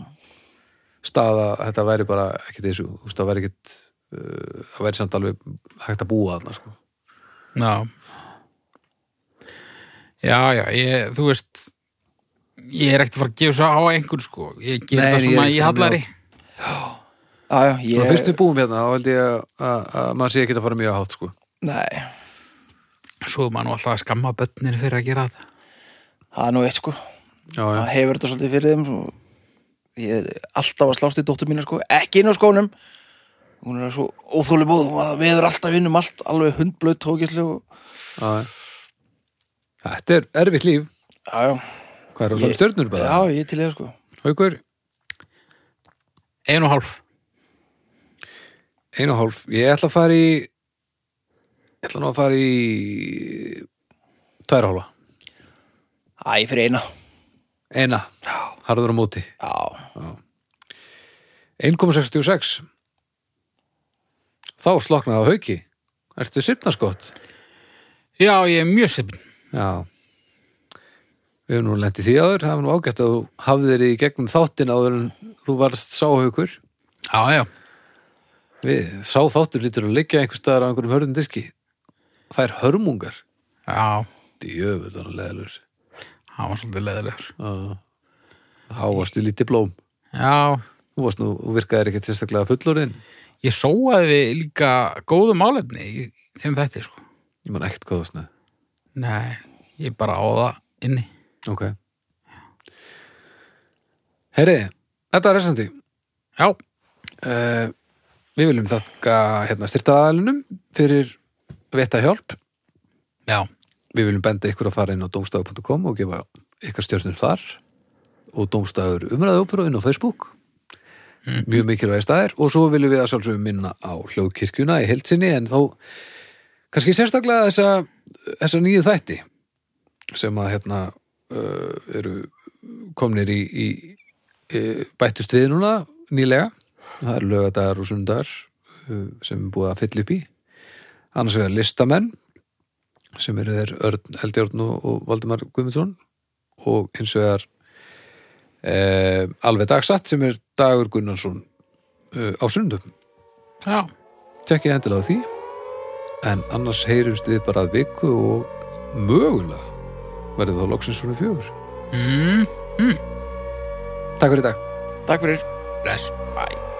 Speaker 2: stað að þetta væri bara ekkert þessu, þú veist það væri ekkert uh, það væri samt alveg hægt að búa þarna sko.
Speaker 3: já. Já, já, ég, þú veist, ég er ekkert að fara að gefa svo á einhvern, sko. Ég ger
Speaker 2: Nei,
Speaker 3: það
Speaker 2: ég er
Speaker 3: svona
Speaker 2: ekkert
Speaker 3: í
Speaker 2: að
Speaker 3: hallari.
Speaker 1: Já, já, ég...
Speaker 2: Svona fyrst við búum hérna þá held ég að, að, að maður sé ekki að fara mjög hátt sko.
Speaker 1: Nei,
Speaker 3: Svo er maður nú alltaf að skamma börnir fyrir að gera það.
Speaker 1: það er nú eitt, sko.
Speaker 2: já, já.
Speaker 1: Það hefur þetta sko. svolítið fyrir þeim, svo... Ég er alltaf að slást í dóttur mínu, sko. Ekki inn á skónum. hún er svo óþóli bóð hún veður alltaf vinnum allt alveg sko. hundblöð tókislu
Speaker 2: Já. Þetta er erfitt líf
Speaker 1: já, já,
Speaker 2: Hvað er að tala um
Speaker 1: Ég-
Speaker 2: stjörnur bara?
Speaker 1: já, ég er til ég sko
Speaker 2: Haukur,
Speaker 3: Ein og hálf.
Speaker 2: einu og hálf Ég ætla að fara í Ég ætla nú að fara í Tværa hálfa
Speaker 1: Æ, fyrir eina
Speaker 2: Eina, harður á móti
Speaker 1: já,
Speaker 2: 1,66 Þá sloknaði á hauki Ertu sifnaskott?
Speaker 3: Já, ég er mjög sefn.
Speaker 2: Já Við höfum nú lent í því áður, það var nú ágætt að þú hafðir þér í gegnum þáttin áður en þú varst sáhaukur.
Speaker 3: Já, já.
Speaker 2: Við, sá þáttur lítur að liggja einhvers staðar á einhverjum hörðum diski. Það er hörmungar.
Speaker 3: Já,
Speaker 2: Djöfull hann leðalur.
Speaker 3: hann var svolítið leðilegur.
Speaker 2: Há varstu lítið blóm.
Speaker 3: Já,
Speaker 2: Þú varst nú, þú virkaðir ekkert sérstaklega fullorðin.
Speaker 3: ég sóaði líka góðu málefni í þeim þætti, sko.
Speaker 2: Ég man ekkert hvað þú snæði.
Speaker 3: Nei, ég bara á það inni.
Speaker 2: Ok. Herri, þetta er resandi.
Speaker 3: Já,
Speaker 2: Uh, við viljum þakka hérna styrtaðalunum fyrir vetta hjálp.
Speaker 3: já,
Speaker 2: Við viljum benda ykkur að fara inn á domstafu.com og gefa ykkar stjórnir þar og domstafur umræðaópur og inn á Facebook mjög mikilvæg staðir og svo viljum við að sjálfsögum minna á hljóðkirkjuna í heldsinni en þó kannski sérstaklega þessa, þessa nýju þætti sem að hérna uh, eru komnir í, í, í bættust við núna nýlega það eru lögadagar og sundar uh, sem er búið að fylla upp í annars vegar listamenn sem eru þeir Örn Eldjórn og, og Valdimar Guðmundsson og eins og er e, alveg dagsatt sem er Dagur Gunnarsson e, á sundum.
Speaker 3: já.
Speaker 2: Tjekkið endilega á því en annars heyrumst við bara að viku og mögulega verðum þá loksins svona fjögur.
Speaker 3: Mm,
Speaker 2: Takk fyrir í dag.
Speaker 1: takk fyrir
Speaker 3: bless.
Speaker 1: Bye.